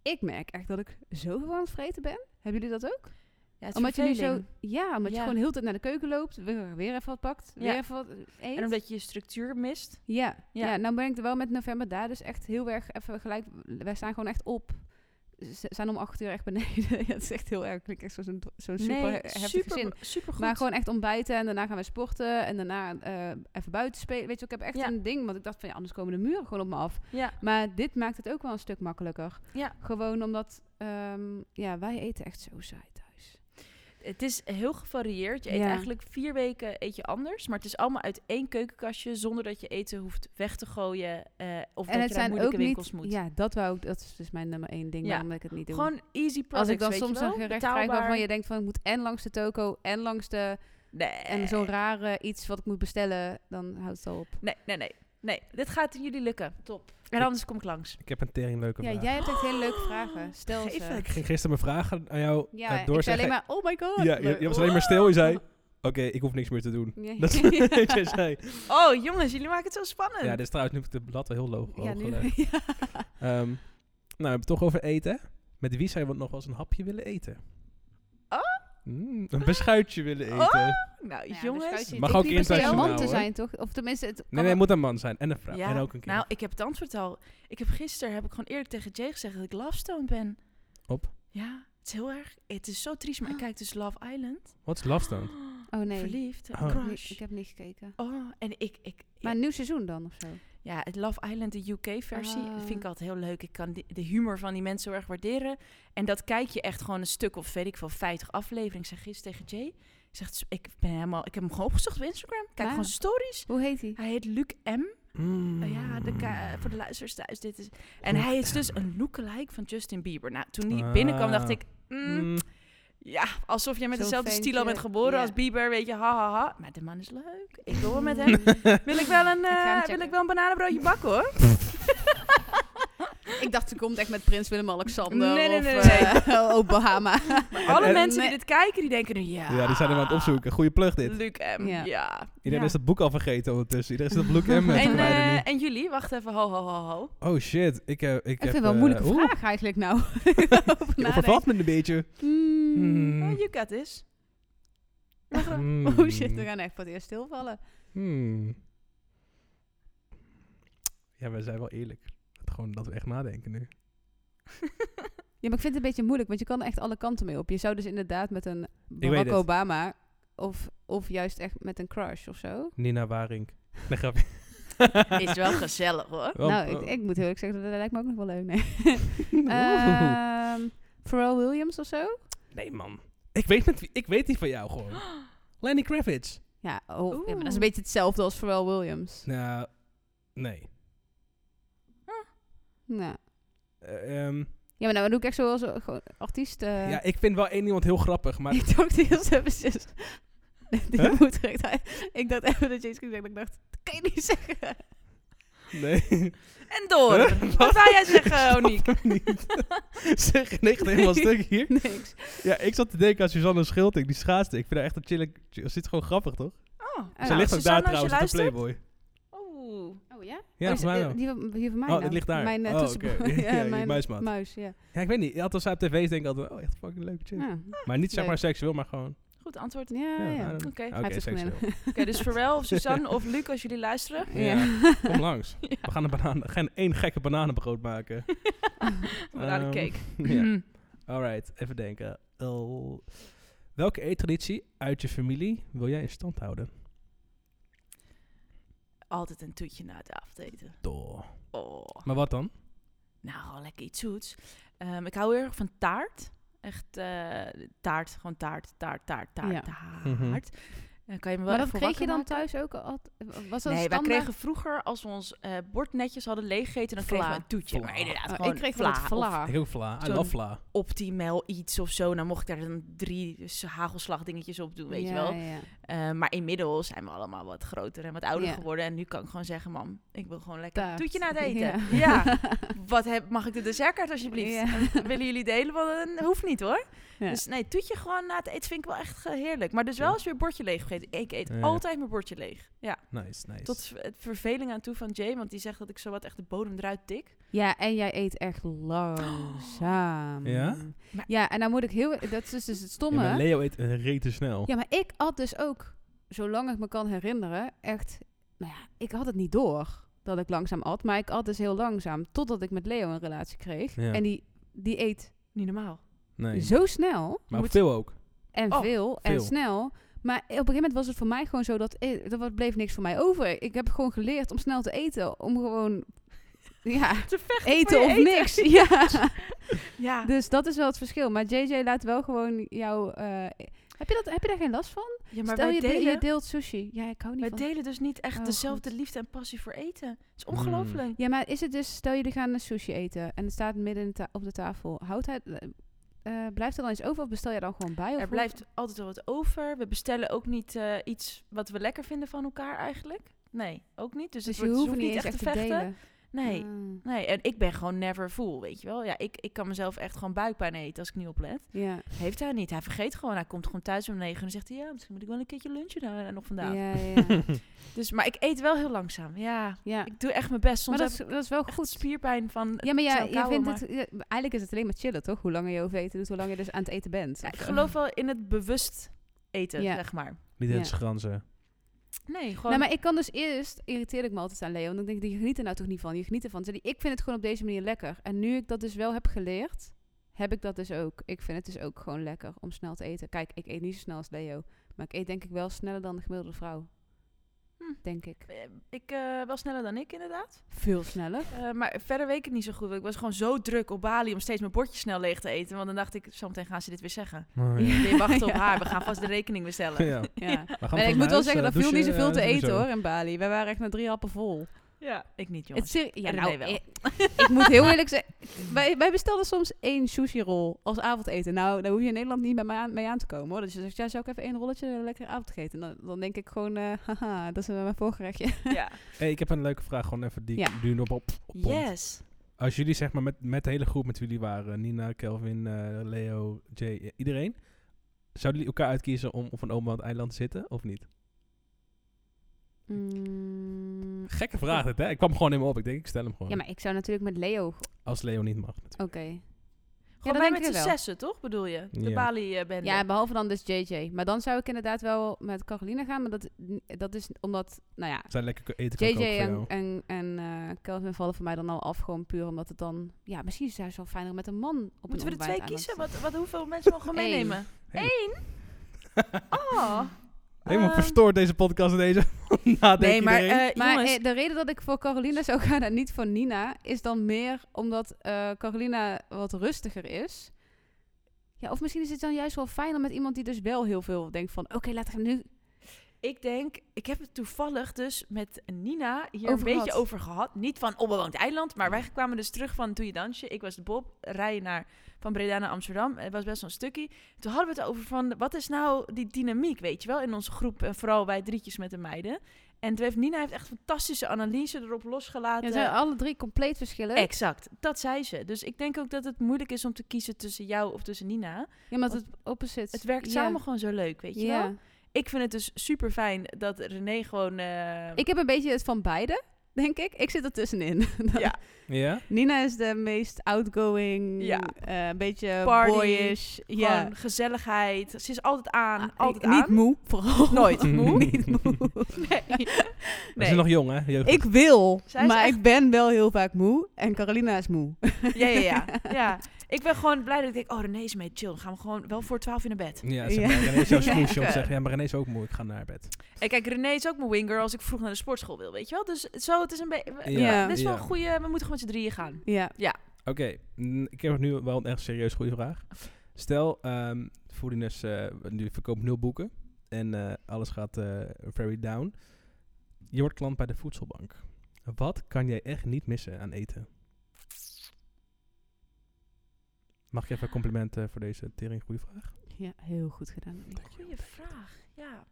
ik merk echt dat ik zoveel aan het vreten ben. Hebben jullie dat ook?
Ja, het is
Omdat je nu zo...
verveling.
Ja, omdat je
Ja.
gewoon heel de tijd naar de keuken loopt. Weer, weer even wat pakt. Weer
Ja.
even wat eh, eet.
En omdat je je structuur mist.
Ja, ja.
Ja.
nou ben ik er wel met november daar dus echt heel erg even gelijk. Wij staan gewoon echt op. Ze zijn om acht uur echt beneden. ja, het is echt heel erg. Klinkt echt zo'n zo zo'n super
nee,
heftige
super,
zin.
super goed.
Maar gewoon echt ontbijten en daarna gaan wij sporten en daarna eh, even buiten spelen. Weet je, ik heb echt
Ja.
een ding, want ik dacht van ja, anders komen de muren gewoon op me af.
Ja,
Maar dit maakt het ook wel een stuk makkelijker.
Ja.
Gewoon omdat, ehm, ja, wij eten echt zo saai thuis.
het is heel gevarieerd. Je eet
Ja.
eigenlijk vier weken eet je anders. Maar het is allemaal uit één keukenkastje. Zonder dat je eten hoeft weg te gooien. eh, of dat je naar moeilijke winkels
niet,
moet.
ja, dat wou ik, dat is dus mijn nummer één ding
Ja.
waarom ik het niet doe.
Gewoon easy products,
Als ik dan
weet je
soms
wel?
een gerecht krijg
Betaalbaar.
waarvan je denkt van ik moet en langs de toko en langs de
Nee.
en zo'n rare iets wat ik moet bestellen, dan houdt het al op.
Nee, nee, nee. Nee, dit gaat jullie lukken. Top. En
Ik-
anders kom ik langs.
Ik heb een tering leuke
Ja,
vraag.
jij hebt echt hele leuke vragen. Stel
Geef
ze.
het.
Ik ging gisteren mijn vragen aan jou eh,
Ja, ik zei
doorzeggen.
alleen maar oh my god.
ja, je, je was alleen maar stil. Je zei, oké, ik hoef niks meer te doen.
Ja.
Dat is wat jij zei.
Oh, jongens, jullie maken het zo spannend.
Ja, dit is trouwens nu heb ik de blad wel heel loog
Ja, nu.
gelegd.
ja.
Ehm, nou, we hebben het toch over eten. Met wie zou je nog wel eens een hapje willen eten?
Oh.
Mm, een beschuitje willen eten.
Oh. Nou,
Nou ja,
jongens.
beschuitje-
Mag
het
ook
hoeft niet per se een
internationaal,
man te
hoor.
zijn, toch? Of tenminste, het kan
Nee, nee, het
wel-
moet een man zijn. En een vrouw.
Ja,
En ook een kind.
Nou, ik heb het antwoord al. Ik heb gisteren heb ik gewoon eerlijk tegen Jay gezegd dat ik love stoned ben.
Op.
Ja, het is heel erg. Het is zo triest, maar ik kijk dus Love Island.
Wat is love stone?
Oh nee,
Verliefd.
Oh.
Ik heb niet-
Crush.
ik heb niet gekeken.
Oh, en ik, ik,
Maar een nieuw seizoen dan of zo?
Ja, het Love Island, de UK-versie,
Ah.
dat vind ik altijd heel leuk. Ik kan die- de humor van die mensen heel erg waarderen. En dat kijk je echt gewoon een stuk of, weet ik veel, 50 afleveringen. Ik zeg gisteren tegen Jay, ik, zeg, "Dus ik, ben helemaal, ik heb hem gewoon opgezocht op Instagram. Kijk
Ah.
gewoon zijn stories.
Hoe heet die?
Hij heet Luc M.
Mm.
Oh Ja, de ka- voor de luisteraars thuis. Dit is... En hij is dus een lookalike van Justin Bieber. Nou, toen die binnenkwam dacht
Ah.
ik... mm,
Mm.
ja, alsof jij met
Zo'n
dezelfde
ventje,
stilo bent geboren
ja.
als Bieber, weet je, ha, ha, ha. Maar de man is leuk. Ik wil wel met hem. Wil ik wel een,
ga hem
eh, wil
checken.
ik wel een bananenbroodje bakken, hoor.
Ik dacht, ze komt echt met Prins Willem-Alexander
Nee, nee, nee,
of eh, Obama.
Alle
en-
mensen
Nee.
die dit kijken, die denken nu, ja.
Ja, die zijn hem aan het opzoeken. Goeie plug dit.
Luc M,
Ja.
ja.
Iedereen
Ja.
is dat boek al vergeten ondertussen. Iedereen zit op Luke M.
En,
En,
eh,
nu.
en jullie, wacht even, ho, ho, ho, ho.
Oh shit, ik heb... Ik,
Ik vind
heb,
het wel een moeilijke
eh, oeh,
vraag eigenlijk nou.
Je overvalt me een beetje.
Hmm.
Mm.
Oh, you got this. Mag er-
Oh shit, we gaan echt voor het eerst stilvallen.
Hmm. Ja, we zijn wel eerlijk. Het Gewoon dat we echt nadenken nu.
Ja, maar ik vind het een beetje moeilijk, want je kan er echt alle kanten mee op. Je zou dus inderdaad met een Barack
het.
Obama of, of juist echt met een crush of zo.
Nina Waring. Nee, grapje.
Is wel gezellig, hoor.
Wel,
nou, ik,
eh,
ik moet heel eerlijk zeggen, dat lijkt me ook nog wel leuk. Nee.
oeh.
eh,
Ehm, Pharrell Williams of zo?
nee, man. Ik weet, met wie, ik weet die van jou gewoon. Lenny Kravitz.
Ja, oh, ja, maar dat is
Oeh.
een beetje hetzelfde als Pharrell Williams.
Nou, nee.
Nou.
Eh, ehm,
Ja, maar nou doe ik echt zo als eh, gewoon artiest. eh,
ja, ik vind wel één iemand heel grappig, maar...
Ik dacht eerst even zus. Die
Huh?
moet er echt uit. Ik dacht even dat James King zei, ik dacht, dat kan je niet zeggen.
Nee.
En door. Wat wou jij zeggen, Oniek?
zeg, nee, echt helemaal
Nee.
stuk hier.
Niks.
Ja, ik zat te denken aan Suzanne Schulting, die schaatste. Ik vind haar echt een chille... Ze zit gewoon grappig, toch?
Oh,
Ah,
Ze
nou,
ligt ook
Suzanne,
daar
als je
trouwens, op de
luistert.
Playboy.
Oeh.
Oh ja?
Ja,
Oh, is-
volgens mij
eh,
wel.
die, van, die van mij
Oh,
nou.
het ligt daar.
Mijn eh,
Oh,
toetsenbord.
oké. Ja, je
mijn
muismat.
Muis, ja.
Ja, ik weet niet. Altijd als ze op tv denk ik altijd... Oh, echt fucking leuk chick.
Ja,
Maar niet zeg
Leuk.
maar seksueel, maar gewoon...
Goed antwoord. Oké,
Ah, ja.
I
ja.
don't know.
Oké. Hij
ah, Oké,
heeft het
seksueel.
dus Pharrell of Suzanne of Luc, als jullie luisteren.
Ja.
Ja.
Kom langs. We gaan een banaan, geen één gekke bananenbrood maken.
Bananencake.
Ehm, ja.
Mm.
Alright, even denken. El- welke eettraditie uit je familie wil jij in stand houden?
Altijd een toetje na het avondeten.
Door.
Oh.
Maar wat dan?
Nou, gewoon lekker iets zoets. Ehm, ik hou heel erg van taart. Echt eh, taart, gewoon taart, taart, taart, taart,
Ja.
taart.
Mhm.
Eh, Dan kan je me wel
Maar dat
echt voor
kreeg je
wakker
dan
maken.
thuis ook al? Was
Nee,
dat
wij
standaard?
kregen vroeger, als we ons eh, bord netjes hadden leeggegeten, dan kregen
Vla.
we een toetje.
Vla.
Maar inderdaad,
Oh,
gewoon
ik kreeg
vla.
wel het
of
vla.
Heel vla. I
Zo'n-
love vla.
Optimal iets of zo. Dan mocht ik daar dan drie dus hagelslagdingetjes op doen, weet je
Ja,
wel.
ja.
Eh, maar inmiddels zijn we allemaal wat groter en wat ouder
Ja.
geworden. En nu kan ik gewoon zeggen, mam, ik wil gewoon lekker een
Taart.
toetje na het eten.
Ja.
Ja. Wat heb, mag ik de dessertkaart alsjeblieft?
Ja.
En Willen jullie delen? Want dat hoeft niet hoor.
Ja.
Dus nee, toetje gewoon na het eten vind ik wel echt eh, heerlijk. Maar dus wel
Ja.
eens weer bordje leeg gegeten. Ik eet
Ja, ja.
altijd mijn bordje leeg. Ja.
Nice, nice.
Tot v- het verveling aan toe van Jay, want die zegt dat ik zowat echt de bodem eruit tik.
Ja, en jij eet echt langzaam.
Ja?
Maar-
Ja, en dan moet ik heel... Dat is dus- dus het
Ja,
stomme.
maar Leo eet eh, rete snel.
Ja, maar ik had dus ook, zolang ik me kan herinneren, echt... Nou ja, ik had het niet door dat ik langzaam at. Maar ik at dus heel langzaam, totdat ik met Leo een relatie kreeg.
Ja.
En die, die eet
Niet normaal.
Nee.
zo snel
maar
moet-
veel ook.
en
Oh,
veel en
veel.
snel. Maar op een gegeven moment was het voor mij gewoon zo dat... eh, Er was- bleef niks voor mij over. Ik heb gewoon geleerd om snel te eten. Om gewoon... Ja,
Te vechten
eten
voor
of
je
niks. Ja.
Ja.
Dus dat is wel het verschil. Maar JJ laat wel gewoon jou... eh, heb, je dat, heb je daar geen last van?
ja, maar
Stel,
wij
je, be- je
delen,
deelt sushi. Ja, ik hou niet
wij
van...
delen dus niet echt
Oh,
dezelfde
goed.
liefde en passie voor eten. Het is
Hmm.
ongelooflijk.
Ja, maar is het dus... Stel, jullie gaan een sushi eten en het staat midden in de ta- op de tafel. Houdt hij... eh, eh, blijft er dan iets over of bestel je dan gewoon bij? Of
Er
hoe-
blijft dus altijd wel wat over. We bestellen ook niet eh, iets wat we lekker vinden van elkaar eigenlijk. Nee, ook niet. Dus,
Dus
het
je
wordt,
hoeft
hoeft
niet eens
echt
echt
te
te
vechten.
delen.
Nee.
Ah,
Nee, en ik ben gewoon never full, weet je wel. Ja, ik, ik kan mezelf echt gewoon buikpijn eten als ik niet oplet.
Ja.
Heeft hij niet. Hij vergeet gewoon. Hij komt gewoon thuis om negen en dan zegt hij... Ja, misschien moet ik wel een keertje lunchen nou, en nog
Ja,
vandaag.
ja, ja.
Dus, maar ik eet wel heel langzaam. Ja,
Ja.
ik doe echt mijn best.
Maar
Soms
dat
heb
is,
ik
dat is wel
echt
goed.
spierpijn van...
Ja, maar ja,
snel
je
kauwen,
vindt
maar-
het... ja, eigenlijk is het alleen maar chillen, toch? Hoe langer je over eten doet, hoe langer je dus aan het eten bent.
Ja,
of
ik
zo.
geloof wel in het bewust eten,
Ja.
zeg maar.
Niet in
Ja.
het schranzen.
Nee, gewoon...
Nou, maar ik kan dus eerst... Irriteer ik me altijd aan Leo. Want dan denk ik, die geniet er nou toch niet van. Je geniet ervan. Terwijl Ik vind het gewoon op deze manier lekker. En nu ik dat dus wel heb geleerd, heb ik dat dus ook. Ik vind het dus ook gewoon lekker om snel te eten. Kijk, ik eet niet zo snel als Leo. Maar ik eet denk ik wel sneller dan de gemiddelde vrouw.
Hm.
Denk ik.
Eh, Ik eh, wel sneller dan ik, inderdaad.
Veel sneller.
Eh, maar verder weet ik het niet zo goed. want Ik was gewoon zo druk op Bali om steeds mijn bordje snel leeg te eten. Want dan dacht ik, zometeen gaan ze dit weer zeggen.
Oh, ja.
Nee, wacht op
Ja.
haar. We gaan vast de rekening bestellen. Ja.
Ja.
Ja.
We gaan
Maar
van
ik moet wel
huis,
zeggen,
eh,
dat viel niet
douchen,
zoveel
eh,
te
doen we
eten
zo.
hoor in Bali. Wij waren echt met drie appen vol.
Ik niet, jongens.
Het seri- ja,
En
nou,
René wel.
ik, ik moet heel eerlijk zeggen. Wij, wij bestelden soms één sushi-rol als avondeten. Nou, daar hoef je in Nederland niet bij mij aan, mee aan te komen hoor. Dat je zegt, ja, zou ik even één rolletje eh, lekker avondeten? Dan, dan denk ik gewoon, eh, haha, dat is eh, mijn voorgerechtje.
Ja.
Hey, ik heb een leuke vraag, gewoon even die
Ja.
nu nog op. op pompt.
Yes.
Als jullie zeg maar met, met de hele groep met wie jullie waren, Nina, Kelvin, eh, Leo, Jay, eh, iedereen, zouden jullie elkaar uitkiezen om op een oma aan het eiland te zitten of niet?
Mm,
Gekke vraag dit, hè? Ik kwam gewoon in me op. Ik denk, ik stel hem gewoon.
ja, maar ik zou natuurlijk met Leo... Oké.
Als Leo niet mag. natuurlijk.
Gewoon wij
dat denk
met
ik
z'n
wel.
zessen, toch? Bedoel je? De
Ja.
Bali eh bende.
Ja, behalve dan dus JJ. Maar dan zou ik inderdaad wel met Caroline gaan. Maar dat, dat is omdat, nou ja,
Zijn lekker eten kan
JJ
koken voor
en,
jou.
en, en eh, Kelvin vallen voor mij dan al af. Gewoon puur omdat het dan... Ja, misschien is het wel fijner om met een man op
Moeten we
een
er twee
onbewaard eiland
kiezen?
te
Wat, wat, hoeveel mensen mogen we
Eén.
meenemen?
Eén.
Eén? Oh.
Helemaal
Ehm,
verstoord deze podcast in deze. Nadenk
Nee, maar
iedereen.
eh,
ah. Maar
jongens...
eh, de reden dat ik voor Carolina zou gaan en niet voor Nina, is dan meer omdat eh, Carolina wat rustiger is. Ja, of misschien is het dan juist wel fijn om met iemand die dus wel heel veel denkt van... Oké, laten we nu...
Ik denk, ik heb het toevallig dus met Nina hier
Over
een beetje
gehad.
over gehad. Niet van onbewoond eiland, maar wij kwamen dus terug van Doe je dansje. Ik was de Bob, rijden naar van Breda naar Amsterdam. Het was best wel een stukje. Toen hadden we het over van, wat is nou die dynamiek, weet je wel, in onze groep. En vooral wij drietjes met de meiden. En toen heeft Nina heeft echt fantastische analyse erop
Ja,
losgelaten.
er zijn alle drie compleet verschillen.
exact, dat zei ze. Dus ik denk ook dat het moeilijk is om te kiezen tussen jou of tussen Nina.
Ja, maar het opposite.
Het werkt
Ja.
samen gewoon zo leuk, weet je
Ja.
wel. Ik vind het dus super fijn dat René gewoon... eh,
Ik heb een beetje het van beide, denk ik. Ik zit er tussenin.
Ja.
eh,
ja?
Nina is de meest outgoing,
Ja.
eh, een beetje
Party,
boyish.
Gewoon
Ja.
gezelligheid. Ze is altijd aan.
Ah,
altijd
niet
aan.
moe, vooral.
Nooit Mm. moe.
niet moe.
Nee.
We zijn nog jong, hè? Jeugd.
Ik wil,
Zij is
maar
echt-
ik ben wel heel vaak moe. En Carolina is moe.
Ja, ja, ja, ja. Ik ben gewoon blij dat ik denk, oh René is mee, chill. Dan gaan we gewoon wel voor twaalf in naar bed.
Ja, zeg
Ja.
maar, René is jouw
Ja.
smoesje om te zeggen, ja, maar René is ook moe, ik ga naar bed.
En kijk, René is ook mijn winger als ik vroeg naar de sportschool wil, weet je wel? Dus zo, het is een beetje...
Ja,
Ja, dit is wel
ja.
een goede... We moeten gewoon met z'n drieën gaan.
Ja.
Oké, mm, ik heb nu wel een echt serieus goede vraag. Stel, ehm Foodiness eh, nu verkoopt nul boeken en eh, alles gaat eh, very down. Je wordt klant bij de voedselbank. Wat kan jij echt niet missen aan eten? Mag je even complimenten voor deze tering goede vraag?
Ja, heel goed gedaan.
Goeie vraag, ja.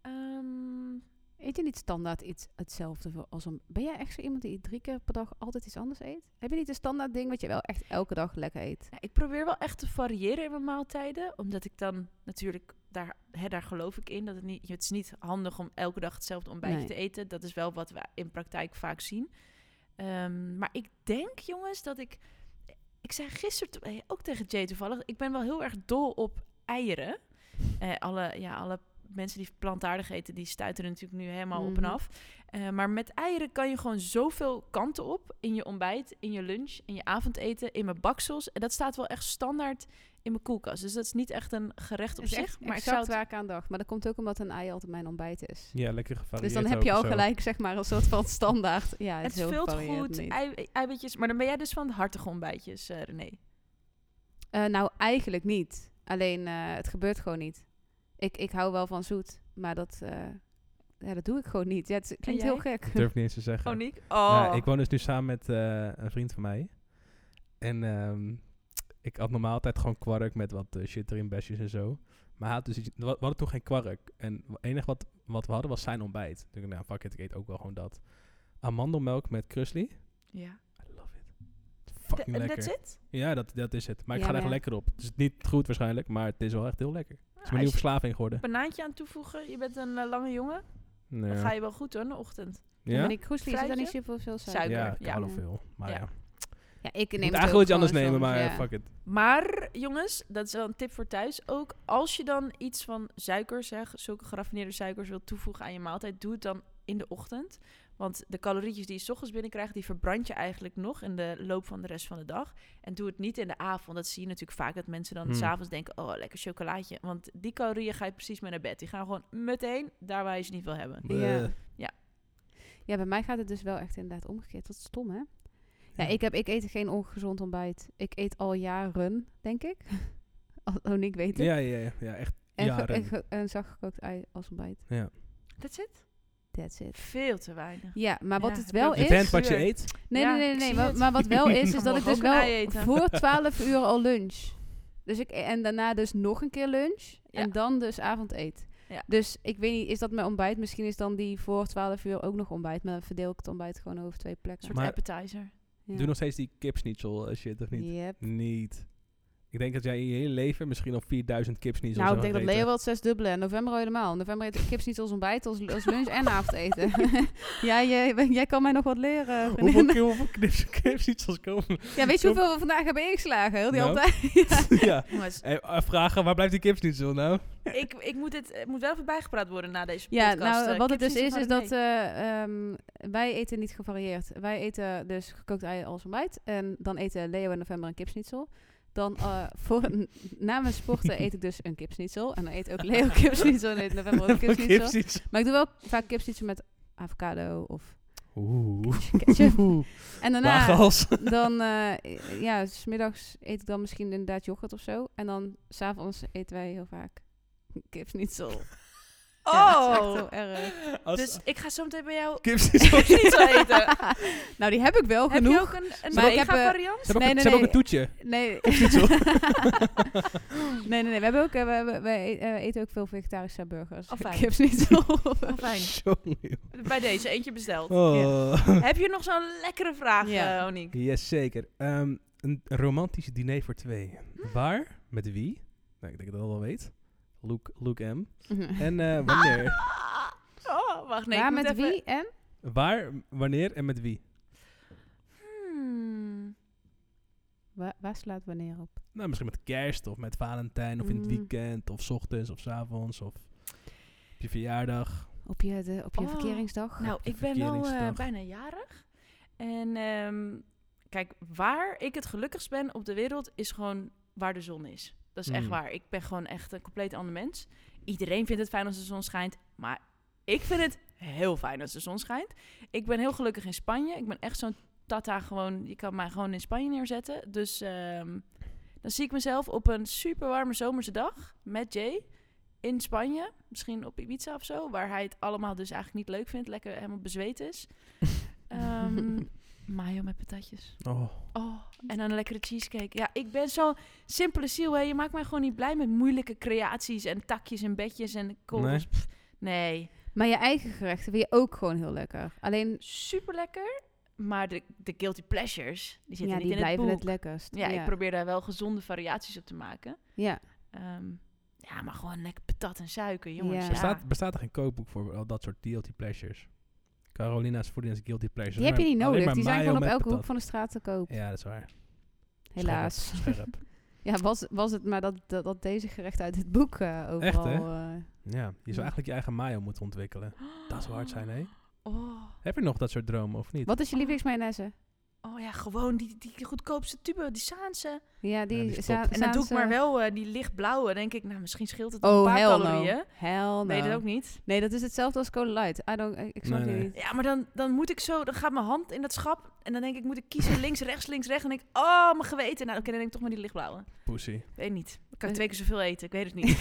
Ehm,
Eet je niet standaard iets hetzelfde voor als om... Ben jij echt zo iemand die drie keer per dag altijd iets anders eet? Heb je niet een standaard ding wat je wel echt elke dag lekker eet?
nou, ik probeer wel echt te variëren in mijn maaltijden. Omdat ik dan natuurlijk, daar, hè, daar geloof ik in. Dat het, niet, het is niet handig om elke dag hetzelfde ontbijtje
Nee.
te eten. Dat is wel wat we in praktijk vaak zien. Ehm, maar ik denk, jongens, dat ik... Ik zei gisteren to- eh, ook tegen Jay toevallig... Ik ben wel heel erg dol op eieren. Eh, alle, ja, alle mensen die plantaardig eten, die stuiten er natuurlijk nu helemaal op
Mhm.
en af. Eh, maar met eieren kan je gewoon zoveel kanten op. In je ontbijt, in je lunch, in je avondeten, in mijn baksels. En dat staat wel echt standaard in mijn koelkast. Dus dat is niet echt een gerecht op
Het is
zich.
echt
Maar ik
exact
zou het-
waar ik aan dacht. Maar dat komt ook omdat een ei altijd mijn ontbijt is.
Ja, lekker gevarieerd.
Dus dan heb je
ook
al
zo.
gelijk, zeg maar, een soort van standaard. Ja,
het
is heel
vult
gevarieerd
goed,
niet.
ei- eiwitjes. Maar dan ben jij dus van de hartige ontbijtjes, eh, René.
Eh, nou, eigenlijk niet. Alleen, eh, het gebeurt gewoon niet. Ik, ik hou wel van zoet, maar dat, eh, ja, dat doe ik gewoon niet. Ja, het klinkt heel gek.
Ik Durf niet eens te zeggen.
Oh, Niek? Oh.
Ja, ik woon dus nu samen met eh, een vriend van mij. En ehm, ik had normaal altijd gewoon kwark met wat eh, shit erin, besjes en zo. Maar hij had dus, iets- we we hadden toen geen kwark. En het enige wat, wat we hadden was zijn ontbijt. Toen dacht ik, nou fuck it, ik eet ook wel gewoon dat. Amandelmelk met krusli. I
Ja.
love it.
Da-
Fucking
En that's
lekker.
it?
Ja, dat, dat is het. Maar ik
Ja,
ga er
maar
echt lekker op. Het is niet goed waarschijnlijk, maar het is wel echt heel lekker. Het is
Ah,
mijn nieuwe
als je
verslaving geworden.
een banaantje aan toevoegen, je bent een eh, lange jongen, dan ga
Ja.
je wel goed hoor in de ochtend.
Ja?
Ja?
Maar ik Kroesli zit daar niet
Fruitje?
super veel suiker.
Suiker.
Ja, ik
Ja.
hou wel
Ja.
veel. Maar
Ja.
ja.
Ja, ik
Ik
neem
moet
het ook
eigenlijk iets anders
gewoon
nemen, maar
soms,
eh,
ja.
fuck it.
Maar jongens, dat is wel een tip voor thuis. Ook als je dan iets van suikers, hè, zulke geraffineerde suikers wilt toevoegen aan je maaltijd, doe het dan in de ochtend. Want de calorietjes die je 's ochtends binnenkrijgt, die verbrand je eigenlijk nog in de loop van de rest van de dag. En doe het niet in de avond. Dat zie je natuurlijk vaak, dat mensen dan
Hmm.
s'avonds denken, oh, lekker chocolaatje. Want die calorieën ga je precies mee naar bed. Die gaan gewoon meteen daar waar je ze niet wil hebben.
Ja.
Bleh.
Ja, bij mij gaat het dus wel echt inderdaad omgekeerd. Wat stom, hè? Ja,
Ja.
ik, heb, ik eet geen ongezond ontbijt. Ik eet al jaren, denk ik. Al- Oh, Nick weet het.
Ja, ja, ja, ja, echt
en, ge-
jaren.
en, ge- en zachtgekookt ei als ontbijt.
That's it.
That's it.
Veel te weinig.
Ja, maar wat
Ja,
het
heb
wel
ik
is...
ook
Je bent wat je eet.
Nee,
Ja,
nee, nee,
ik
nee.
zie
wa- Maar,
het.
wat wel is, is
Dan
dat
mag
ik dus
ook een ei
wel
eten.
voor 12 uur al lunch. Dus ik, en daarna dus nog een keer lunch.
Ja.
En dan dus avondeet.
Ja.
Dus ik weet niet, is dat mijn ontbijt? Misschien is dan die voor 12 uur ook nog ontbijt. Maar dan verdeel ik het ontbijt gewoon over twee
Een
plekken.
soort
Maar-
appetizer.
Ja.
Doe nog steeds die kipsnitzel eh, shit, of niet?
Yep.
Niet. Ik denk dat jij in je hele leven misschien al 4000 kipsnitzels
Nou, ik
hebt
denk dat
gegeten.
Leeuwald zes dubbele en november al helemaal. November eet ik kips niet als ontbijt, als, als lunch en avondeten. ja, jij, jij kan mij nog wat leren.
Hoeveel,
vriendin.
keer- hoeveel knips- kipsnitzels komen?
Ja, weet je hoeveel we vandaag hebben ingeslagen? Heel die
Nou.
ontbijt.
ja.
Jongens,
Eh, vragen, waar blijft die kipsnitzel nou?
ik, ik moet dit het moet wel even bijgepraat worden na deze
Ja,
podcast.
nou,
eh,
wat het dus
kipsnitzen
is,
van
is dat
René.
eh, ehm, wij eten niet gevarieerd. Wij eten dus gekookt ei als ontbijt. En dan eten Leo en november een kipsnitzel. Dan eh, voor, na mijn sporten eet ik dus een kipsnitzel. En dan eet ook Leo kipsnitzel en eet november ook kipsnitzel.
Kipsnitzel.
Maar ik doe wel vaak kipsnitzel met avocado of
Oeh.
ketchup.
Oeh.
En daarna
Waaghals.
dan, eh ja, smiddags eet ik dan misschien inderdaad yoghurt of zo. En dan s'avonds eten wij heel vaak kipsnitzel. Ja, dat is
Oh!
echt heel erg.
Als
dus ik ga zo meteen bij jou
kipsnitzel. Ze
niet zo eten.
nou, die heb ik wel
Heb
genoeg.
je ook een, een
Maar ik heb, eh,
variant?
hebben ook,
Nee,
een-
nee,
ze hebben ook
nee.
een toetje.
Nee.
Kipsnitzel.
nee, nee, nee. We, hebben ook, eh, we, hebben- wij, eh, eten ook veel vegetarische burgers.
Oh, fijn.
Kipsnitzel.
Oh, Fijn.
Jongen,
Bij deze, eentje besteld.
joh. Oh.
Heb je nog zo'n lekkere vraag,
Ja.
eh, Oniek?
Jazeker. Ehm, een romantisch diner voor twee.
Hm.
Waar? Met wie? Nou, ik denk dat ik dat wel weet. Luke, Luke M. En eh, wanneer?
Ah! Oh, wacht, nee.
maar
ik moet
met
even...
wie en?
Waar, wanneer en met wie?
Hmm.
Waar, waar slaat wanneer op?
Nou, misschien met kerst of met Valentijn of in het
Mm.
weekend of 's ochtends of 's avonds of op je verjaardag.
Op je, de, op je
Oh.
verkeringsdag?
Nou, ik ben wel eh,
verkeringsdag.
bijna jarig. En ehm, kijk, waar ik het gelukkigst ben op de wereld is gewoon waar de zon is. Dat is echt
Hmm.
waar. Ik ben gewoon echt een compleet ander mens. Iedereen vindt het fijn als de zon schijnt, maar ik vind het heel fijn als de zon schijnt. Ik ben heel gelukkig in Spanje. Ik ben echt zo'n tata gewoon, je kan mij gewoon in Spanje neerzetten. Dus ehm, dan zie ik mezelf op een super warme zomerse dag met Jay in Spanje, misschien op Ibiza of zo, waar hij het allemaal dus eigenlijk niet leuk vindt, lekker helemaal bezweet is. Ehm, mayo met patatjes.
Oh,
Oh, en dan een lekkere cheesecake. Ja, ik ben zo'n simpele ziel, hè. Je maakt mij gewoon niet blij met moeilijke creaties en takjes en bedjes en korrels. Pff, nee.
Maar je eigen gerechten vind je ook gewoon heel lekker. Alleen,
super lekker. Maar de, de guilty pleasures, die zitten
ja,
niet
die
in het
blijven
boek.
het, lekkerst.
ja, ik probeer daar wel gezonde variaties op te maken.
ja.
Ehm, ja, maar gewoon lekker patat en suiker, jongens.
Ja.
Ja.
Bestaat, bestaat er geen kookboek voor al dat soort guilty pleasures? Carolina's Foodiness Guilty Pleasures.
Die heb je
Alleen
niet
maar- alleen
nodig.
maar
Die zijn
mayo
gewoon op
met
elke hoek
patat.
van de straat te koop.
Ja, dat is waar.
Helaas.
Scherp, scherp.
Ja, was, was het maar dat, dat, dat deze gerechten uit het boek eh, overal...
hè?
eh,
Ja, je zou eigenlijk je eigen mayo moeten ontwikkelen. Dat zou hard zijn, hè?
Oh,
Heb je nog dat soort dromen of niet?
wat is je
Ah.
lievelingsmayonaise?
oh ja, gewoon die, die goedkoopste tube, die Saanse.
Ja, die,
Ja, die is
za-
top.
En dan doe ik
Zaanse-
maar wel eh, die lichtblauwe. Dan denk ik, nou, misschien scheelt het een
Oh,
paar
hell no.
calorieën.
Hell no.
Nee, dat ook niet.
Nee, dat is hetzelfde als Cola Light. I don't, ik ik snap
Nee,
je
nee.
niet.
Ja, maar dan, dan moet ik zo, dan gaat mijn hand in dat schap. En dan denk ik, moet ik kiezen links, rechts, links, rechts. En dan denk ik, oh, mijn geweten. Nou, oké, dan denk ik toch maar die lichtblauwe.
Pussy.
Weet niet. Dan
Eh.
kan ik twee keer zoveel eten. Ik weet het niet.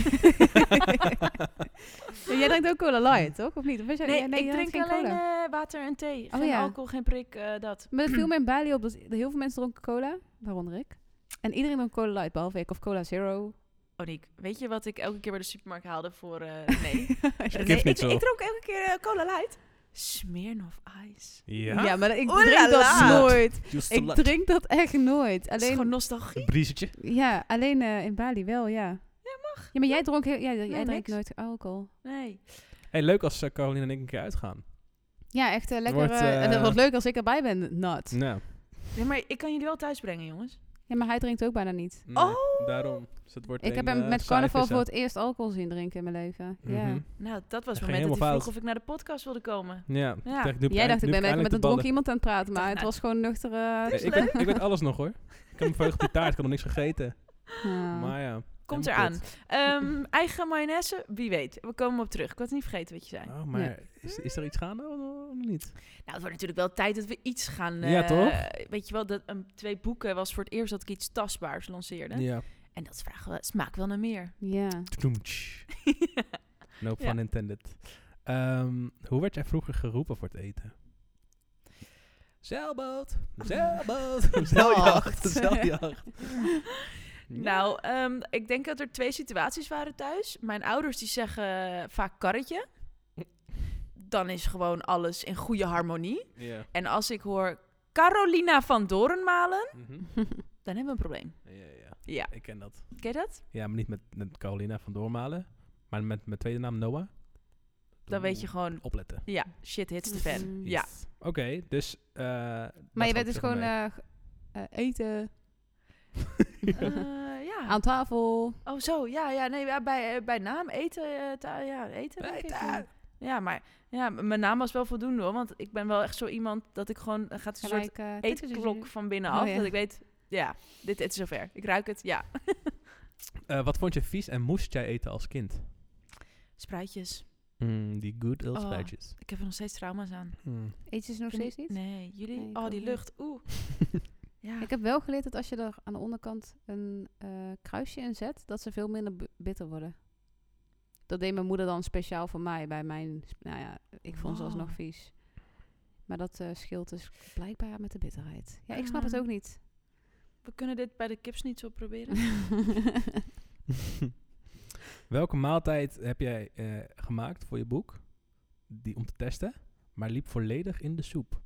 Jij drinkt ook Cola Light, toch? Of niet? Of was jij-
Nee,
ja,
ik
jij drinkt
drink
geen
alleen
cola.
eh, water en thee.
Oh
geen
ja.
alcohol, geen prik, eh, dat.
Maar het viel me in Bali op dat heel veel mensen dronken cola, waaronder ik. En iedereen dronk Cola Light, behalve ik. Of Cola Zero.
Oniek, Oh, weet je wat ik elke keer bij de supermarkt haalde voor... eh nee,
Geeft
nee ik,
niet zo.
ik dronk elke keer eh, Cola Light. Smirnoff Ice.
Ja?
maar ik
Oeh la
drink dat
la.
nooit.
Just
Ik drink dat echt nooit.
Dat is
Alleen,
gewoon nostalgie.
Een briezetje.
ja, alleen eh, in Bali wel, ja.
Ja, mag.
Ja, maar jij dronk, heel, ja, jij drinkt
niks.
nooit alcohol.
Nee.
Hey, leuk als eh, Caroline en ik een keer uitgaan.
Ja, echt eh, lekker.
Wordt,
eh, en dat
eh,
wordt leuk als ik erbij ben, not.
Nou.
Nee, maar ik kan jullie wel thuis brengen, jongens.
Ja, maar hij drinkt ook bijna niet.
nee,
Oh.
Daarom. Dus het wordt
Ik heb
een,
hem
eh,
met
saai
carnaval
vissen.
voor het eerst alcohol zien drinken in mijn leven.
Mhm.
Ja.
Nou, dat was het
Dat ging
moment dat hij
helemaal
vroeg
fout.
of ik naar de podcast wilde komen.
Ja.
Ja.
Ik dacht, nu
Jij dacht, ik
nu
ben even met
eindelijk de
een
ballen.
dronken iemand aan het praten, maar
dacht,
het
nou,
was gewoon nuchtere...
dat is
ik,
leuk.
weet, ik weet alles nog hoor. Ik heb me verheugd op die taart, ik had nog niks gegeten.
Ja.
Maar ja.
Komt
helemaal
eraan. Ehm, eigen mayonaise, wie weet. We komen op terug. Ik had het niet vergeten wat je zei.
kut. Oh, maar is, is er iets gaande of niet?
Nou, het wordt natuurlijk wel tijd dat we iets gaan...
Ja,
eh,
toch?
Weet je wel, dat, een twee boeken was voor het eerst dat ik iets tastbaars lanceerde.
Ja.
En dat vragen we, smaak wel naar meer.
Ja.
Tjoemtsch. No
Ja.
fun intended. Ehm, hoe werd jij vroeger geroepen voor het eten? Zeilboot, zeilboot, zeiljacht, zeiljacht.
Nou, ehm, ik denk dat er twee situaties waren thuis. Mijn ouders die zeggen vaak karretje. Dan is gewoon alles in goede harmonie.
Ja.
En als ik hoor Carolina van Dorenmalen,
Mhm.
dan hebben we een probleem.
Ja, ja.
Ja,
Ik ken dat.
ken je dat?
Ja, maar niet met, met Carolina van Doormalen, maar met mijn tweede naam Noah.
Dan weet je
Oeh,
gewoon,
Opletten.
ja, shit hits the fan.
Mm.
Ja.
Yes. Oké, dus... eh,
Maar
dat
je
valt
bent dus
zeg
gewoon
mee.
eh, g- eh, eten,
Eh, ja.
aan tafel.
Oh, zo, ja, ja, nee, ja, bij, eh, bij naam eten, eh, ta- ja, eten denk ik.
Eten!
Ja, maar ja, m- mijn naam was wel voldoende hoor, want ik ben wel echt zo iemand dat ik gewoon, eh, gaat een soort
gelijk, eh, dit is-
eetklok van binnenaf.
Oh, ja.
Dat ik weet, ja, dit, dit is zover. Ik ruik het, ja.
Eh, wat vond je vies en moest jij eten als kind?
Spruitjes.
Mm, die good old
Oh.
spijtjes.
Ik heb er nog steeds trauma's aan.
Mm.
Eet je ze nog steeds niet?
Nee, jullie?
Nee, ik
oh,
ook
die
niet.
lucht. Oeh. ja.
Ik heb wel geleerd dat als je er aan de onderkant een eh, kruisje in zet, dat ze veel minder b- bitter worden. Dat deed mijn moeder dan speciaal voor mij bij mijn. sp- Nou ja, ik vond ze
Wow.
alsnog vies. Maar dat eh, scheelt dus blijkbaar met de bitterheid. Ja, ik snap het
Ah.
ook niet.
We kunnen dit bij de kips niet zo proberen.
Welke maaltijd heb jij eh, gemaakt voor je boek, die, om te testen, maar liep volledig in de soep?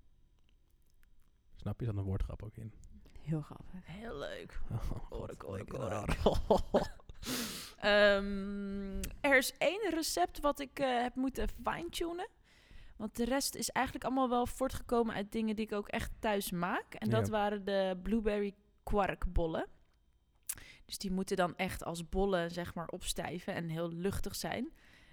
Snap je, er zat een woordgrap ook in.
Heel grappig.
Heel leuk.
Oh,
Orik,
God,
orik,
ik-
orik. Ehm, er is één recept wat ik eh, heb moeten fine-tunen. Want de rest is eigenlijk allemaal wel voortgekomen uit dingen die ik ook echt thuis maak. En dat
Ja.
waren de blueberry kwarkbollen. Dus die moeten dan echt als bollen, zeg maar, opstijven en heel luchtig zijn.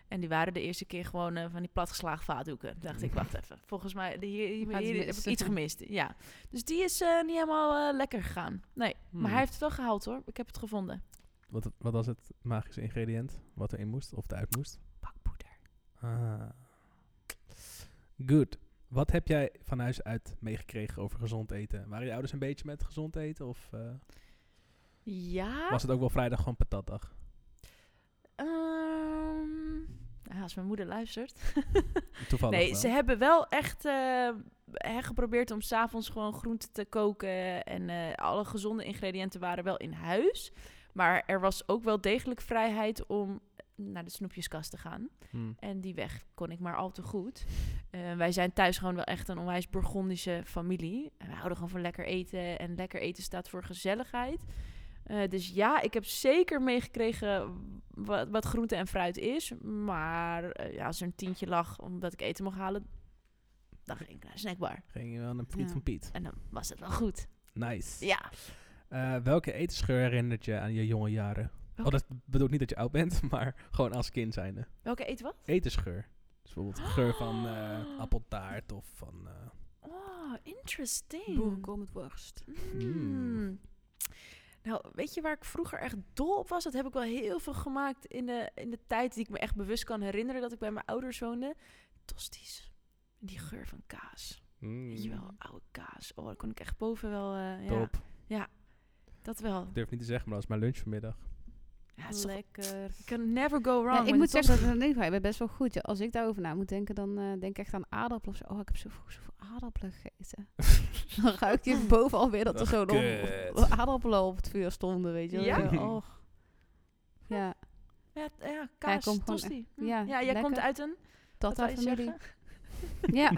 En die waren de eerste keer gewoon eh, van die platgeslagen vaatdoeken. Dacht ik, wacht even. Volgens mij, de- hier, hier,
Gaat
hier
iets
heb
mis.
ik iets gemist. Ja. Dus die is eh, niet helemaal eh, lekker gegaan. Nee,
Hmm.
maar hij heeft het wel gehaald hoor. Ik heb het gevonden.
Wat, wat was het magische ingrediënt wat erin moest of eruit moest?
Bakpoeder.
Ah. Good. Wat heb jij van huis uit meegekregen over gezond eten? Waren je ouders een beetje met gezond eten? Of eh,
Ja. Ah.
was het ook wel vrijdag gewoon patatdag?
Ehm, Ja, als mijn moeder luistert.
Toevallig
nee,
wel.
ze hebben wel echt eh, hè, geprobeerd om s'avonds gewoon groenten te koken. En eh, alle gezonde ingrediënten waren wel in huis. Maar er was ook wel degelijk vrijheid om naar de snoepjeskast te gaan.
Hmm.
En die weg kon ik maar al te goed. Eh, wij zijn thuis gewoon wel echt een onwijs Burgondische familie. En we houden gewoon van lekker eten. En lekker eten staat voor gezelligheid. Eh, dus ja, ik heb zeker meegekregen wat, wat groente en fruit is. Maar eh, ja, als er een tientje lag omdat ik eten mocht halen, dan ging ik naar de snackbar.
Ging je wel naar Piet
Ja.
van Piet.
En dan was het wel goed.
Nice.
Ja.
Eh, welke etensgeur herinnert je aan je jonge jaren?
Welke?
Oh, dat bedoelt niet dat je oud bent, maar gewoon als kind zijnde.
Welke eten wat?
Etensgeur. Dus bijvoorbeeld de geur van eh, appeltaart of van... eh,
Oh, interesting.
Boerenkoolmetworst. Hmm.
Mm.
Mm. Nou, weet je waar ik vroeger echt dol op was? Dat heb ik wel heel veel gemaakt in de, in de tijd die ik me echt bewust kan herinneren dat ik bij mijn ouders woonde. Tosties. Die geur van kaas.
Hmm.
Weet je wel, oude kaas. Oh, daar kon ik echt boven wel... eh, ja,
Top.
dat wel.
Ik durf het niet te zeggen, maar dat is mijn lunch vanmiddag.
Ja, het is toch-
Lekker.
you can never go wrong.
ik
with
moet
Tosti.
zeggen, dat ik ben best wel goed. Ja, Als ik daarover na moet denken, dan eh, denk ik echt aan aardappelen. Of zo. Oh, ik heb zoveel, zoveel aardappelen gegeten. dan ruikt je boven alweer dat er
Ach,
zo'n
kut.
op- aardappelen op het vuur stonden, weet je wel.
Oh, Ja?
Zo, oh. Ja,
Ja, t- ja, kaas,
kom gewoon
tosti. Hm.
ja,
Ja, jij
lekker.
komt uit een...
dat
Wat wil
daar
je
familie.
zeggen?
Ja.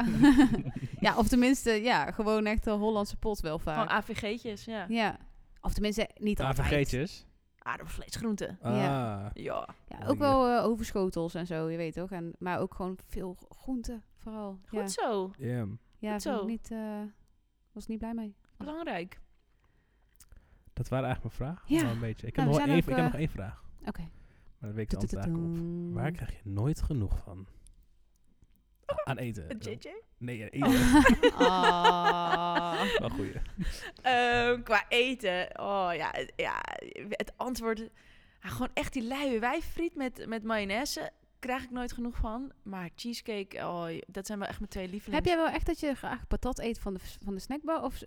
ja, of tenminste, ja, gewoon echt een Hollandse pot wel
Gewoon
vaak.
AVG'tjes, ja.
ja. Of tenminste, niet
Ah,
altijd.
vergeet je
Aardappelvlees, groenten.
Ja.
Ah.
Ja.
Ja, ook wel eh, overschotels en zo, je weet toch. En, maar ook gewoon veel groenten, vooral.
Goed
ja.
zo.
damn.
Ja,
Goed
vind ik
zo.
Niet, eh, was niet blij mee.
Belangrijk.
Dat waren eigenlijk mijn vragen.
Ja.
Wel Een beetje. Ik,
Nou,
heb
we zijn
nog één,
ook,
ik heb
eh,
nog één vraag.
Oké.
Maar dat weet ik de antwoord eigenlijk op.
Toetetoetoem.
Waar krijg je nooit genoeg van? A- aan eten.
JJ?
Nee, aan
Oh.
eten.
Ah.
Wel goeie.
Ehm, qua eten. Oh ja, ja het antwoord. ah, gewoon echt die luie wijfriet met, met mayonaise. Krijg ik nooit genoeg van. Maar cheesecake, oh, dat zijn wel echt mijn twee
Heb
lievelings.
jij wel echt dat je graag patat eet van de, van de snackbar? Of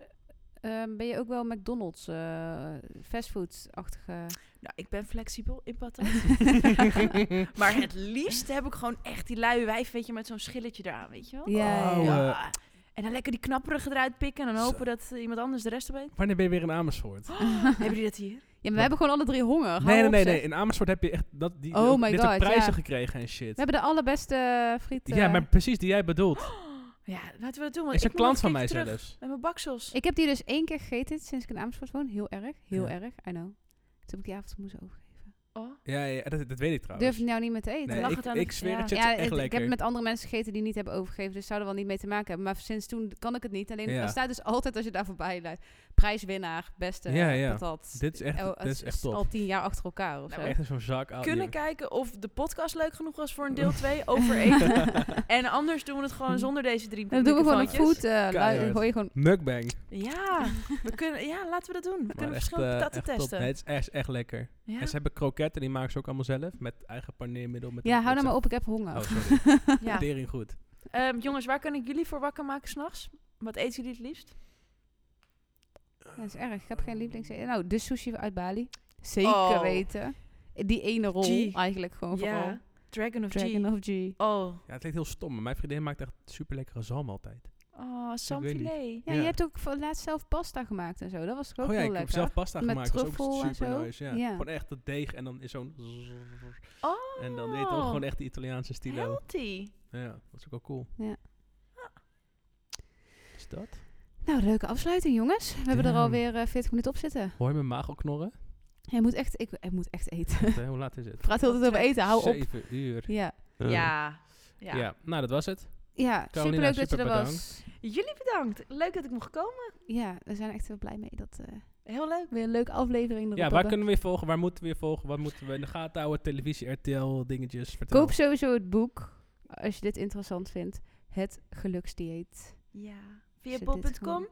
ehm, ben je ook wel McDonald's, eh fastfood-achtige...
Nou, ik ben flexibel in patat. maar het liefst heb ik gewoon echt die luie wijf, weet je, met zo'n schilletje eraan, weet je wel?
Ja, ja,
Oh,
ja.
eh,
Ja. En dan lekker die knapperige eruit pikken en dan
Zo.
hopen dat eh, iemand anders de rest erbij.
Wanneer ben je weer in Amersfoort?
Hebben jullie dat hier?
maar we hebben gewoon alle drie honger. Hou
nee, nee,
op,
nee,
zeg.
nee. In Amersfoort heb je echt dat, die,
Oh
ook
my
dit soort
God,
prijzen
ja.
gekregen en shit.
We hebben de allerbeste friet.
ja,
eh. Oh.
maar precies die jij bedoelt.
Ja, laten we dat doen. want
Is een
ik moet nog
klant van mij dus?
keer terug
zelfs.
Met mijn baksels.
Ik heb die dus één keer gegeten sinds ik in Amersfoort woon. Heel erg, heel
Ja.
erg, I know. Toen heb ik die avond moeten overgeven.
Oh,
Ja, ja dat, dat weet ik trouwens.
Durf ik nou niet meer te eten.
Oh, Nee,
lag
ik,
het aan
ik
de-
zweer
ja.
het je, het
ja,
is echt
het- ik
lekker.
heb met andere mensen gegeten die niet hebben overgegeven, dus zouden wel niet mee te maken hebben. Maar sinds toen kan ik het niet. Alleen
Ja.
er staat dus altijd als je daar voorbij leidt, prijswinnaar, beste
Ja, ja.
patat.
Dit is echt-
Oh,
dit
het
is echt top.
Al tien jaar achter elkaar of
Nou,
zo.
Echt in zo'n zak. al-
kunnen
je-
kijken of de podcast leuk genoeg was voor een deel 2 over eten. en anders doen we het gewoon zonder deze drie
Dan doen we gewoon een
microfoontjes.
food, eh lui-
Keihard.
gooi je gewoon...
Mukbang.
Ja, we kunnen, ja, laten we dat doen. We
Maar
kunnen
echt,
verschillende
eh,
patatten
echt top.
testen.
Nee, het is echt, echt lekker.
Ja?
En ze hebben kroketten, die maken ze ook allemaal zelf. Met eigen paneermiddel. Met
Ja,
een-
hou nou
met
maar op, ik heb honger.
zo'n- Oh, sorry.
Ja.
Tering goed.
Ehm, jongens, waar kan ik jullie voor wakker maken s'nachts? Wat eten jullie het liefst?
Dat is erg, ik heb geen lievelings... Nou, de sushi uit Bali. Zeker
Oh.
weten. Die ene rol
G.
eigenlijk gewoon vooral.
Dragon of
Dragon
G.
of G.
Oh,
Ja, het klinkt heel stom, maar mijn vriendin maakt echt super lekkere zalm altijd.
oh samfilet.
Ja,
Ja.
je hebt ook voor laatst zelf pasta gemaakt en zo. Dat was toch ook
oh ja,
heel
ik heb
lekker.
zelf pasta
Met
gemaakt. Dat is
truffel
ook
en
super
zo.
nice. Ja.
Ja.
Gewoon echt het deeg en dan is zo'n...
Oh,
En dan eet ook gewoon echt de Italiaanse stilo.
healthy.
Ja, dat is ook wel cool.
Ja.
Is dat?
Nou, leuke afsluiting, jongens. We hebben er
Damn.
alweer eh, 40 minuten op zitten.
Hoor je mijn maag al knorren?
Jij moet echt, ik, ik moet echt eten.
Wat, hè? Hoe laat is
Ik
het?
praat heel de tijd over eten, hou op.
Zeven uur.
Ja,
Ja.
Ja.
ja.
nou dat was het.
ja
Carolina,
superleuk dat je
super
er was.
Jullie bedankt. Leuk dat ik mocht komen.
Ja, we zijn echt heel blij mee dat eh,
Heel leuk.
weer een leuke aflevering erop
Ja, waar
hebben.
kunnen we je volgen? Waar moeten we je volgen? Wat moeten we in de gaten houden? Televisie, RTL, dingetjes. Vertel.
Koop sowieso het boek, als je dit interessant vindt. Het geluksdieet.
Ja,
Zit
via
dit
bol.com.
gewoon?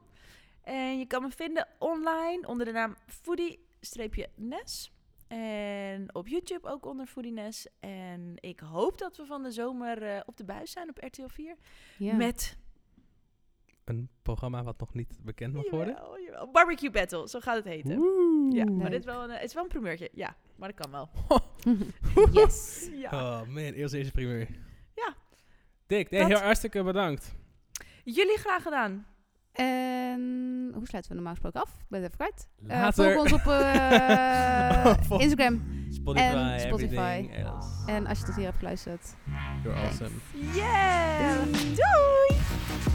En je kan me vinden online onder de naam foodie-nes. En op YouTube ook onder foodie-nes. En ik hoop dat we van de zomer eh, op de buis zijn op RTL 4.
Ja.
Met
Een programma wat nog niet bekend mag worden.
jawel, jawel, Barbecue Battle, zo gaat het heten.
Woe!
Ja,
Oeh.
maar dit is wel een, eh, het is wel een primeurtje. Ja, maar dat kan wel.
Yes.
Ja.
Oh man, eerst deze primeur.
Ja.
Dick, nee,
Dat-
heel hartstikke bedankt.
Jullie graag gedaan.
En hoe sluiten we normaal gesproken af? Ik ben het even kwijt. Eh,
Later.
volg ons op eh, Instagram.
Spotify,
en Spotify.
everything else.
En als je tot hier hebt geluisterd.
You're awesome.
Yeah!
Doei.
Doei!